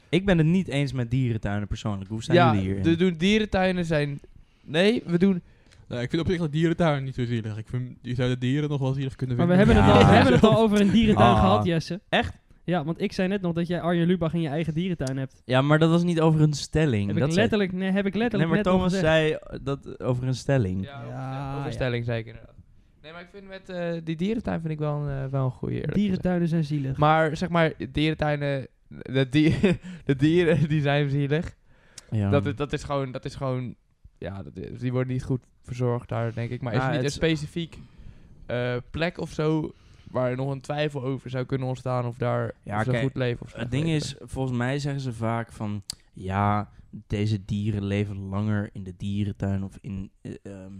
Speaker 2: Ik ben het niet eens met dierentuinen persoonlijk. Hoe staan
Speaker 3: Ja,
Speaker 2: jullie hierin?
Speaker 3: we doen dierentuinen zijn... Nee, we doen...
Speaker 4: Nou, ik vind op zich de dierentuin niet zo zielig. Ik vind, je zou de dieren nog wel zielig kunnen
Speaker 1: Maar we
Speaker 4: vinden.
Speaker 1: hebben,
Speaker 2: Ja.
Speaker 1: het, al, we hebben het al over een dierentuin
Speaker 2: Ah.
Speaker 1: gehad, Jesse.
Speaker 2: Echt?
Speaker 1: Ja, want ik zei net nog dat jij Arjen Lubach in je eigen dierentuin hebt.
Speaker 2: Ja, maar dat was niet over een stelling.
Speaker 1: Heb
Speaker 2: dat
Speaker 1: ik
Speaker 2: zei-
Speaker 1: letterlijk, nee, heb ik
Speaker 2: Nee,
Speaker 1: letterlijk
Speaker 2: maar
Speaker 1: net nog
Speaker 2: Thomas
Speaker 1: gezegd.
Speaker 2: zei dat over een stelling.
Speaker 3: Ja,
Speaker 1: Ja,
Speaker 3: over
Speaker 1: ja.
Speaker 3: stelling zeker inderdaad. Nee, maar ik vind met eh, die dierentuin vind ik wel een, eh, wel een goede eerlijk gezegd.
Speaker 1: Dierentuinen zijn zielig.
Speaker 3: Maar zeg maar, dierentuinen... De, dier, de dieren die zijn zielig.
Speaker 2: Ja.
Speaker 3: Dat, is- dat is gewoon... Dat is gewoon ja, dat is- die worden niet goed verzorgd daar, denk ik. Maar is
Speaker 2: Nou,
Speaker 3: er niet een
Speaker 2: het
Speaker 3: specifiek eh, plek of zo... waar nog een twijfel over zou kunnen ontstaan... of daar
Speaker 2: Ja,
Speaker 3: of ze
Speaker 2: kijk,
Speaker 3: goed leven of
Speaker 2: Het
Speaker 3: slecht
Speaker 2: ding
Speaker 3: leven.
Speaker 2: is, volgens mij zeggen ze vaak van... Ja, deze dieren leven langer in de dierentuin of in... eh, ehm,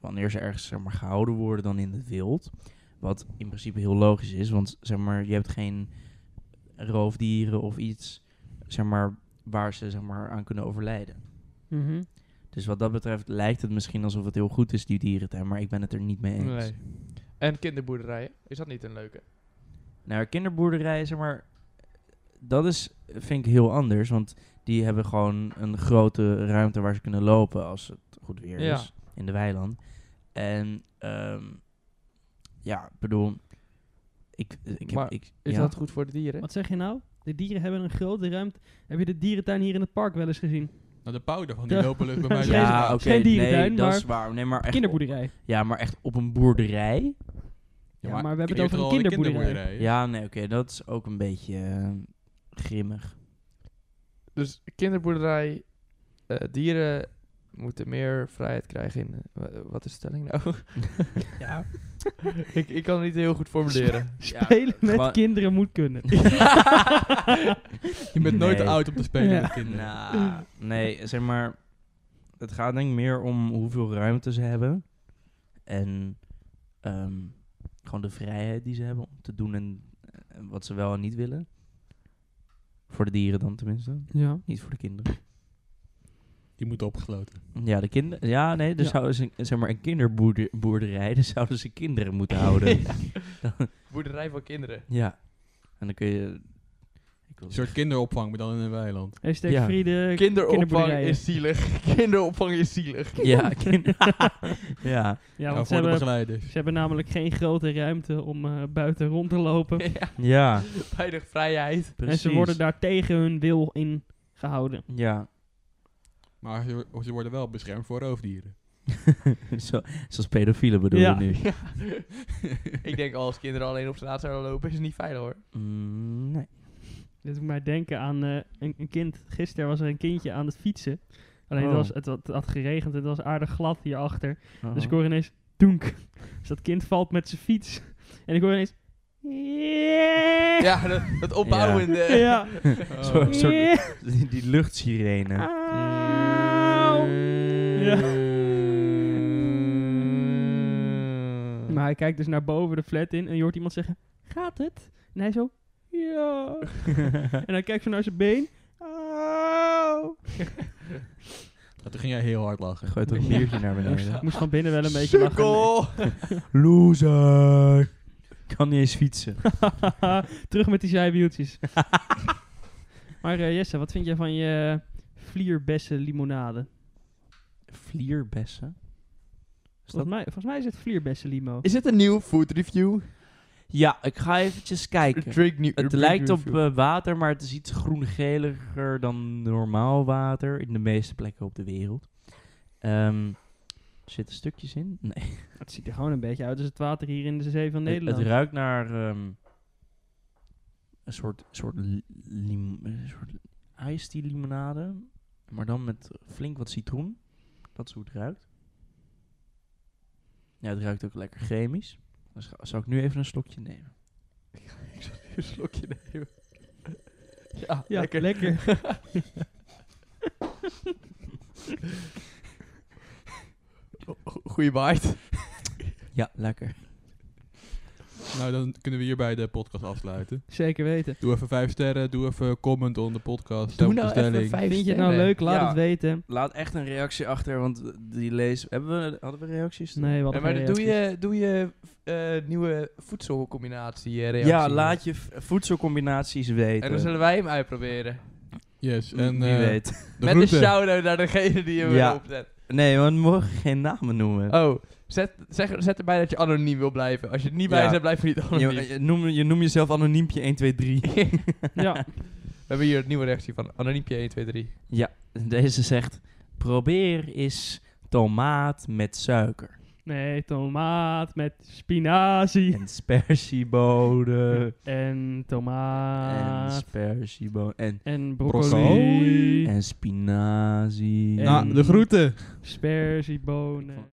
Speaker 2: wanneer ze ergens zeg maar, gehouden worden dan in het wild. Wat in principe heel logisch is, want zeg maar, je hebt geen roofdieren of iets zeg maar, waar ze zeg maar, aan kunnen overlijden.
Speaker 1: Mhm.
Speaker 2: Dus wat dat betreft lijkt het misschien alsof het heel goed is, die dierentuin, maar ik ben het er niet mee eens.
Speaker 3: Nee. En kinderboerderijen, is dat niet een leuke?
Speaker 2: Nou, kinderboerderijen, zeg maar, dat is, vind ik heel anders. Want die hebben gewoon een grote ruimte waar ze kunnen lopen als het goed weer
Speaker 3: Ja.
Speaker 2: is in de weiland. En ehm, ja, ik bedoel, ik, ik heb,
Speaker 3: Maar
Speaker 2: ik,
Speaker 3: Is
Speaker 2: ja.
Speaker 3: dat goed voor de dieren?
Speaker 1: Wat zeg je nou? De dieren hebben een grote ruimte. Heb je de dierentuin hier in het park wel eens gezien?
Speaker 4: Nou, de pauw daarvan, die
Speaker 1: Ja.
Speaker 4: lopen lucht bij mij.
Speaker 1: is
Speaker 4: door de
Speaker 1: geen-
Speaker 2: ja,
Speaker 4: straat.
Speaker 2: oké,
Speaker 1: is geen dierentuin,
Speaker 2: nee, dat
Speaker 1: maar
Speaker 2: is waar. Nee, maar echt
Speaker 1: Kinderboerderij.
Speaker 2: op- ja, maar echt op een boerderij.
Speaker 1: Ja, maar we hebben
Speaker 4: ik
Speaker 1: het
Speaker 4: heb
Speaker 1: over een
Speaker 4: al de
Speaker 1: kinderboerderij.
Speaker 4: kinderboerderij, hè?
Speaker 2: Ja, nee, oké, dat is ook een beetje eh, grimmig.
Speaker 3: Dus kinderboerderij, eh, dieren moeten meer vrijheid krijgen in... eh, wa- wat is de stelling nou?
Speaker 2: Ja.
Speaker 3: ik, ik kan het niet heel goed formuleren.
Speaker 1: Spelen met
Speaker 2: gewoon-
Speaker 1: kinderen moet kunnen.
Speaker 4: Je bent nooit te
Speaker 2: Nee.
Speaker 4: oud om te spelen
Speaker 1: Ja.
Speaker 4: met kinderen.
Speaker 2: Nou, nee, zeg maar. Het gaat denk ik meer om hoeveel ruimte ze hebben. En ehm, gewoon de vrijheid die ze hebben om te doen en, en wat ze wel en niet willen. Voor de dieren dan tenminste.
Speaker 1: ja.
Speaker 2: Niet voor de kinderen.
Speaker 4: Die moeten opgesloten.
Speaker 2: Ja, de kinderen. Ja, nee, dus
Speaker 1: Ja.
Speaker 2: zouden ze zeg maar een kinderboerderij. Dus zouden ze kinderen moeten houden. ja.
Speaker 3: Boerderij van kinderen.
Speaker 2: En dan kun je. Ik wil
Speaker 4: Een soort kinderopvang, maar dan in een weiland.
Speaker 1: Hashtag
Speaker 2: Ja.
Speaker 1: Friede.
Speaker 3: Kinderopvang
Speaker 1: kinderboerderijen.
Speaker 3: is zielig. Kinderopvang is zielig.
Speaker 2: Ja, kinder. ja,
Speaker 1: Ja,
Speaker 4: Ja,
Speaker 1: want ze
Speaker 4: Nou, voor de
Speaker 1: hebben,
Speaker 4: begeleiders.
Speaker 1: ze hebben namelijk geen grote ruimte om eh, buiten rond te lopen.
Speaker 3: ja,
Speaker 2: ja.
Speaker 3: weinig vrijheid.
Speaker 2: Precies.
Speaker 1: En ze worden daar tegen hun wil in gehouden.
Speaker 2: Ja,
Speaker 4: Maar ze, ze worden wel beschermd voor roofdieren.
Speaker 2: Zo, zoals pedofielen bedoel
Speaker 1: Ja.
Speaker 2: je nu?
Speaker 3: Ja. ik denk als kinderen alleen op straat zouden lopen, is het niet veilig hoor.
Speaker 2: Mm, nee.
Speaker 1: Dit doet mij denken aan eh, een, een kind. Gisteren was er een kindje aan het fietsen. Alleen
Speaker 2: Oh.
Speaker 1: het, was, het, had, het had geregend en het was aardig glad hierachter. Dus ik
Speaker 2: Oh.
Speaker 1: hoor ineens... Doenk. Dus dat kind valt met zijn fiets. En ik hoor ineens...
Speaker 3: Ja, dat, dat opbouwende.
Speaker 1: Ja.
Speaker 2: Zo-
Speaker 4: Oh.
Speaker 2: een soort- die, die luchtsirene.
Speaker 1: Ja. Maar hij kijkt dus naar boven de flat in en je hoort iemand zeggen: Gaat het? En hij zo: Ja. en hij kijkt zo naar zijn been. Auw.
Speaker 4: Ja, Nou, toen ging jij heel hard lachen.
Speaker 2: Gooit een biertje naar beneden.
Speaker 1: Moest, moest van binnen wel een beetje lachen.
Speaker 3: Sukkel.
Speaker 2: Loser! Kan niet eens fietsen.
Speaker 1: Terug met die zijwieltjes. maar eh, Jesse, wat vind jij van je vlierbessen limonade?
Speaker 2: Vlierbessen? Is dat-
Speaker 1: Volgens mij, volgens mij is het vlierbessen limo.
Speaker 3: Is het een nieuw food review?
Speaker 2: Ja, ik ga eventjes kijken.
Speaker 3: Drink nieuw.
Speaker 2: Het
Speaker 3: drink
Speaker 2: lijkt
Speaker 3: nieuw
Speaker 2: op
Speaker 3: review.
Speaker 2: eh, water, maar het is iets groen-geliger dan normaal water in de meeste plekken op de wereld. Ehm zitten stukjes in? Nee.
Speaker 1: Het ziet er gewoon een beetje uit als het water hier in de zee van
Speaker 2: Het-
Speaker 1: Nederland.
Speaker 2: Het, ruikt naar ehm, een soort, soort, li- lim, een soort iced tea limonade, maar dan met flink wat citroen. Dat is hoe het ruikt. Ja, het ruikt ook lekker chemisch. Dus ga- zal ik nu even een slokje nemen.
Speaker 3: Ik zal nu een slokje nemen. Ja,
Speaker 1: ja, lekker.
Speaker 3: lekker. Goeie bite.
Speaker 2: Ja, lekker.
Speaker 4: Nou, dan kunnen we hierbij de podcast afsluiten.
Speaker 1: Zeker weten.
Speaker 4: Doe even vijf sterren, doe even comment onder de podcast. stel
Speaker 3: Doe
Speaker 4: op
Speaker 3: nou
Speaker 4: de stelling.
Speaker 3: even vijf
Speaker 1: Vind je het nou
Speaker 3: sterren.
Speaker 1: leuk? Laat
Speaker 2: Ja.
Speaker 1: het weten.
Speaker 2: Laat echt een reactie achter, want die lees... Hebben we, hadden we reacties?
Speaker 1: Nee, wat
Speaker 3: Ja, maar doe je, doe je eh, nieuwe voedselcombinatie eh, reactie.
Speaker 2: Ja, laat je v- voedselcombinaties weten.
Speaker 3: En dan zullen wij hem uitproberen.
Speaker 4: Yes,
Speaker 2: En,
Speaker 4: en
Speaker 2: Wie
Speaker 4: eh,
Speaker 2: weet.
Speaker 4: de
Speaker 3: Met
Speaker 4: route.
Speaker 3: een shout-out naar degene die hem
Speaker 2: Ja.
Speaker 3: opzet.
Speaker 2: Nee, we mogen geen namen noemen.
Speaker 3: Oh, zet, zeg, zet erbij dat je anoniem wil blijven. Als je er niet bij
Speaker 2: Ja.
Speaker 3: bent, blijf je niet
Speaker 2: je,
Speaker 3: anoniem.
Speaker 2: je noem, je noem jezelf anoniempje 1, 2, 3.
Speaker 1: ja.
Speaker 3: We hebben hier het nieuwe reactie van anoniempje 1, 2, 3.
Speaker 2: Ja, deze zegt: probeer eens tomaat met suiker.
Speaker 1: Nee, tomaat met spinazie.
Speaker 2: En spersieboden.
Speaker 1: En
Speaker 2: En
Speaker 1: tomaat.
Speaker 2: spersieboden. En,
Speaker 1: En
Speaker 4: Broccoli.
Speaker 1: broccoli.
Speaker 2: en spinazie.
Speaker 1: En-
Speaker 4: Nou, de groeten.
Speaker 1: Sperziebonen.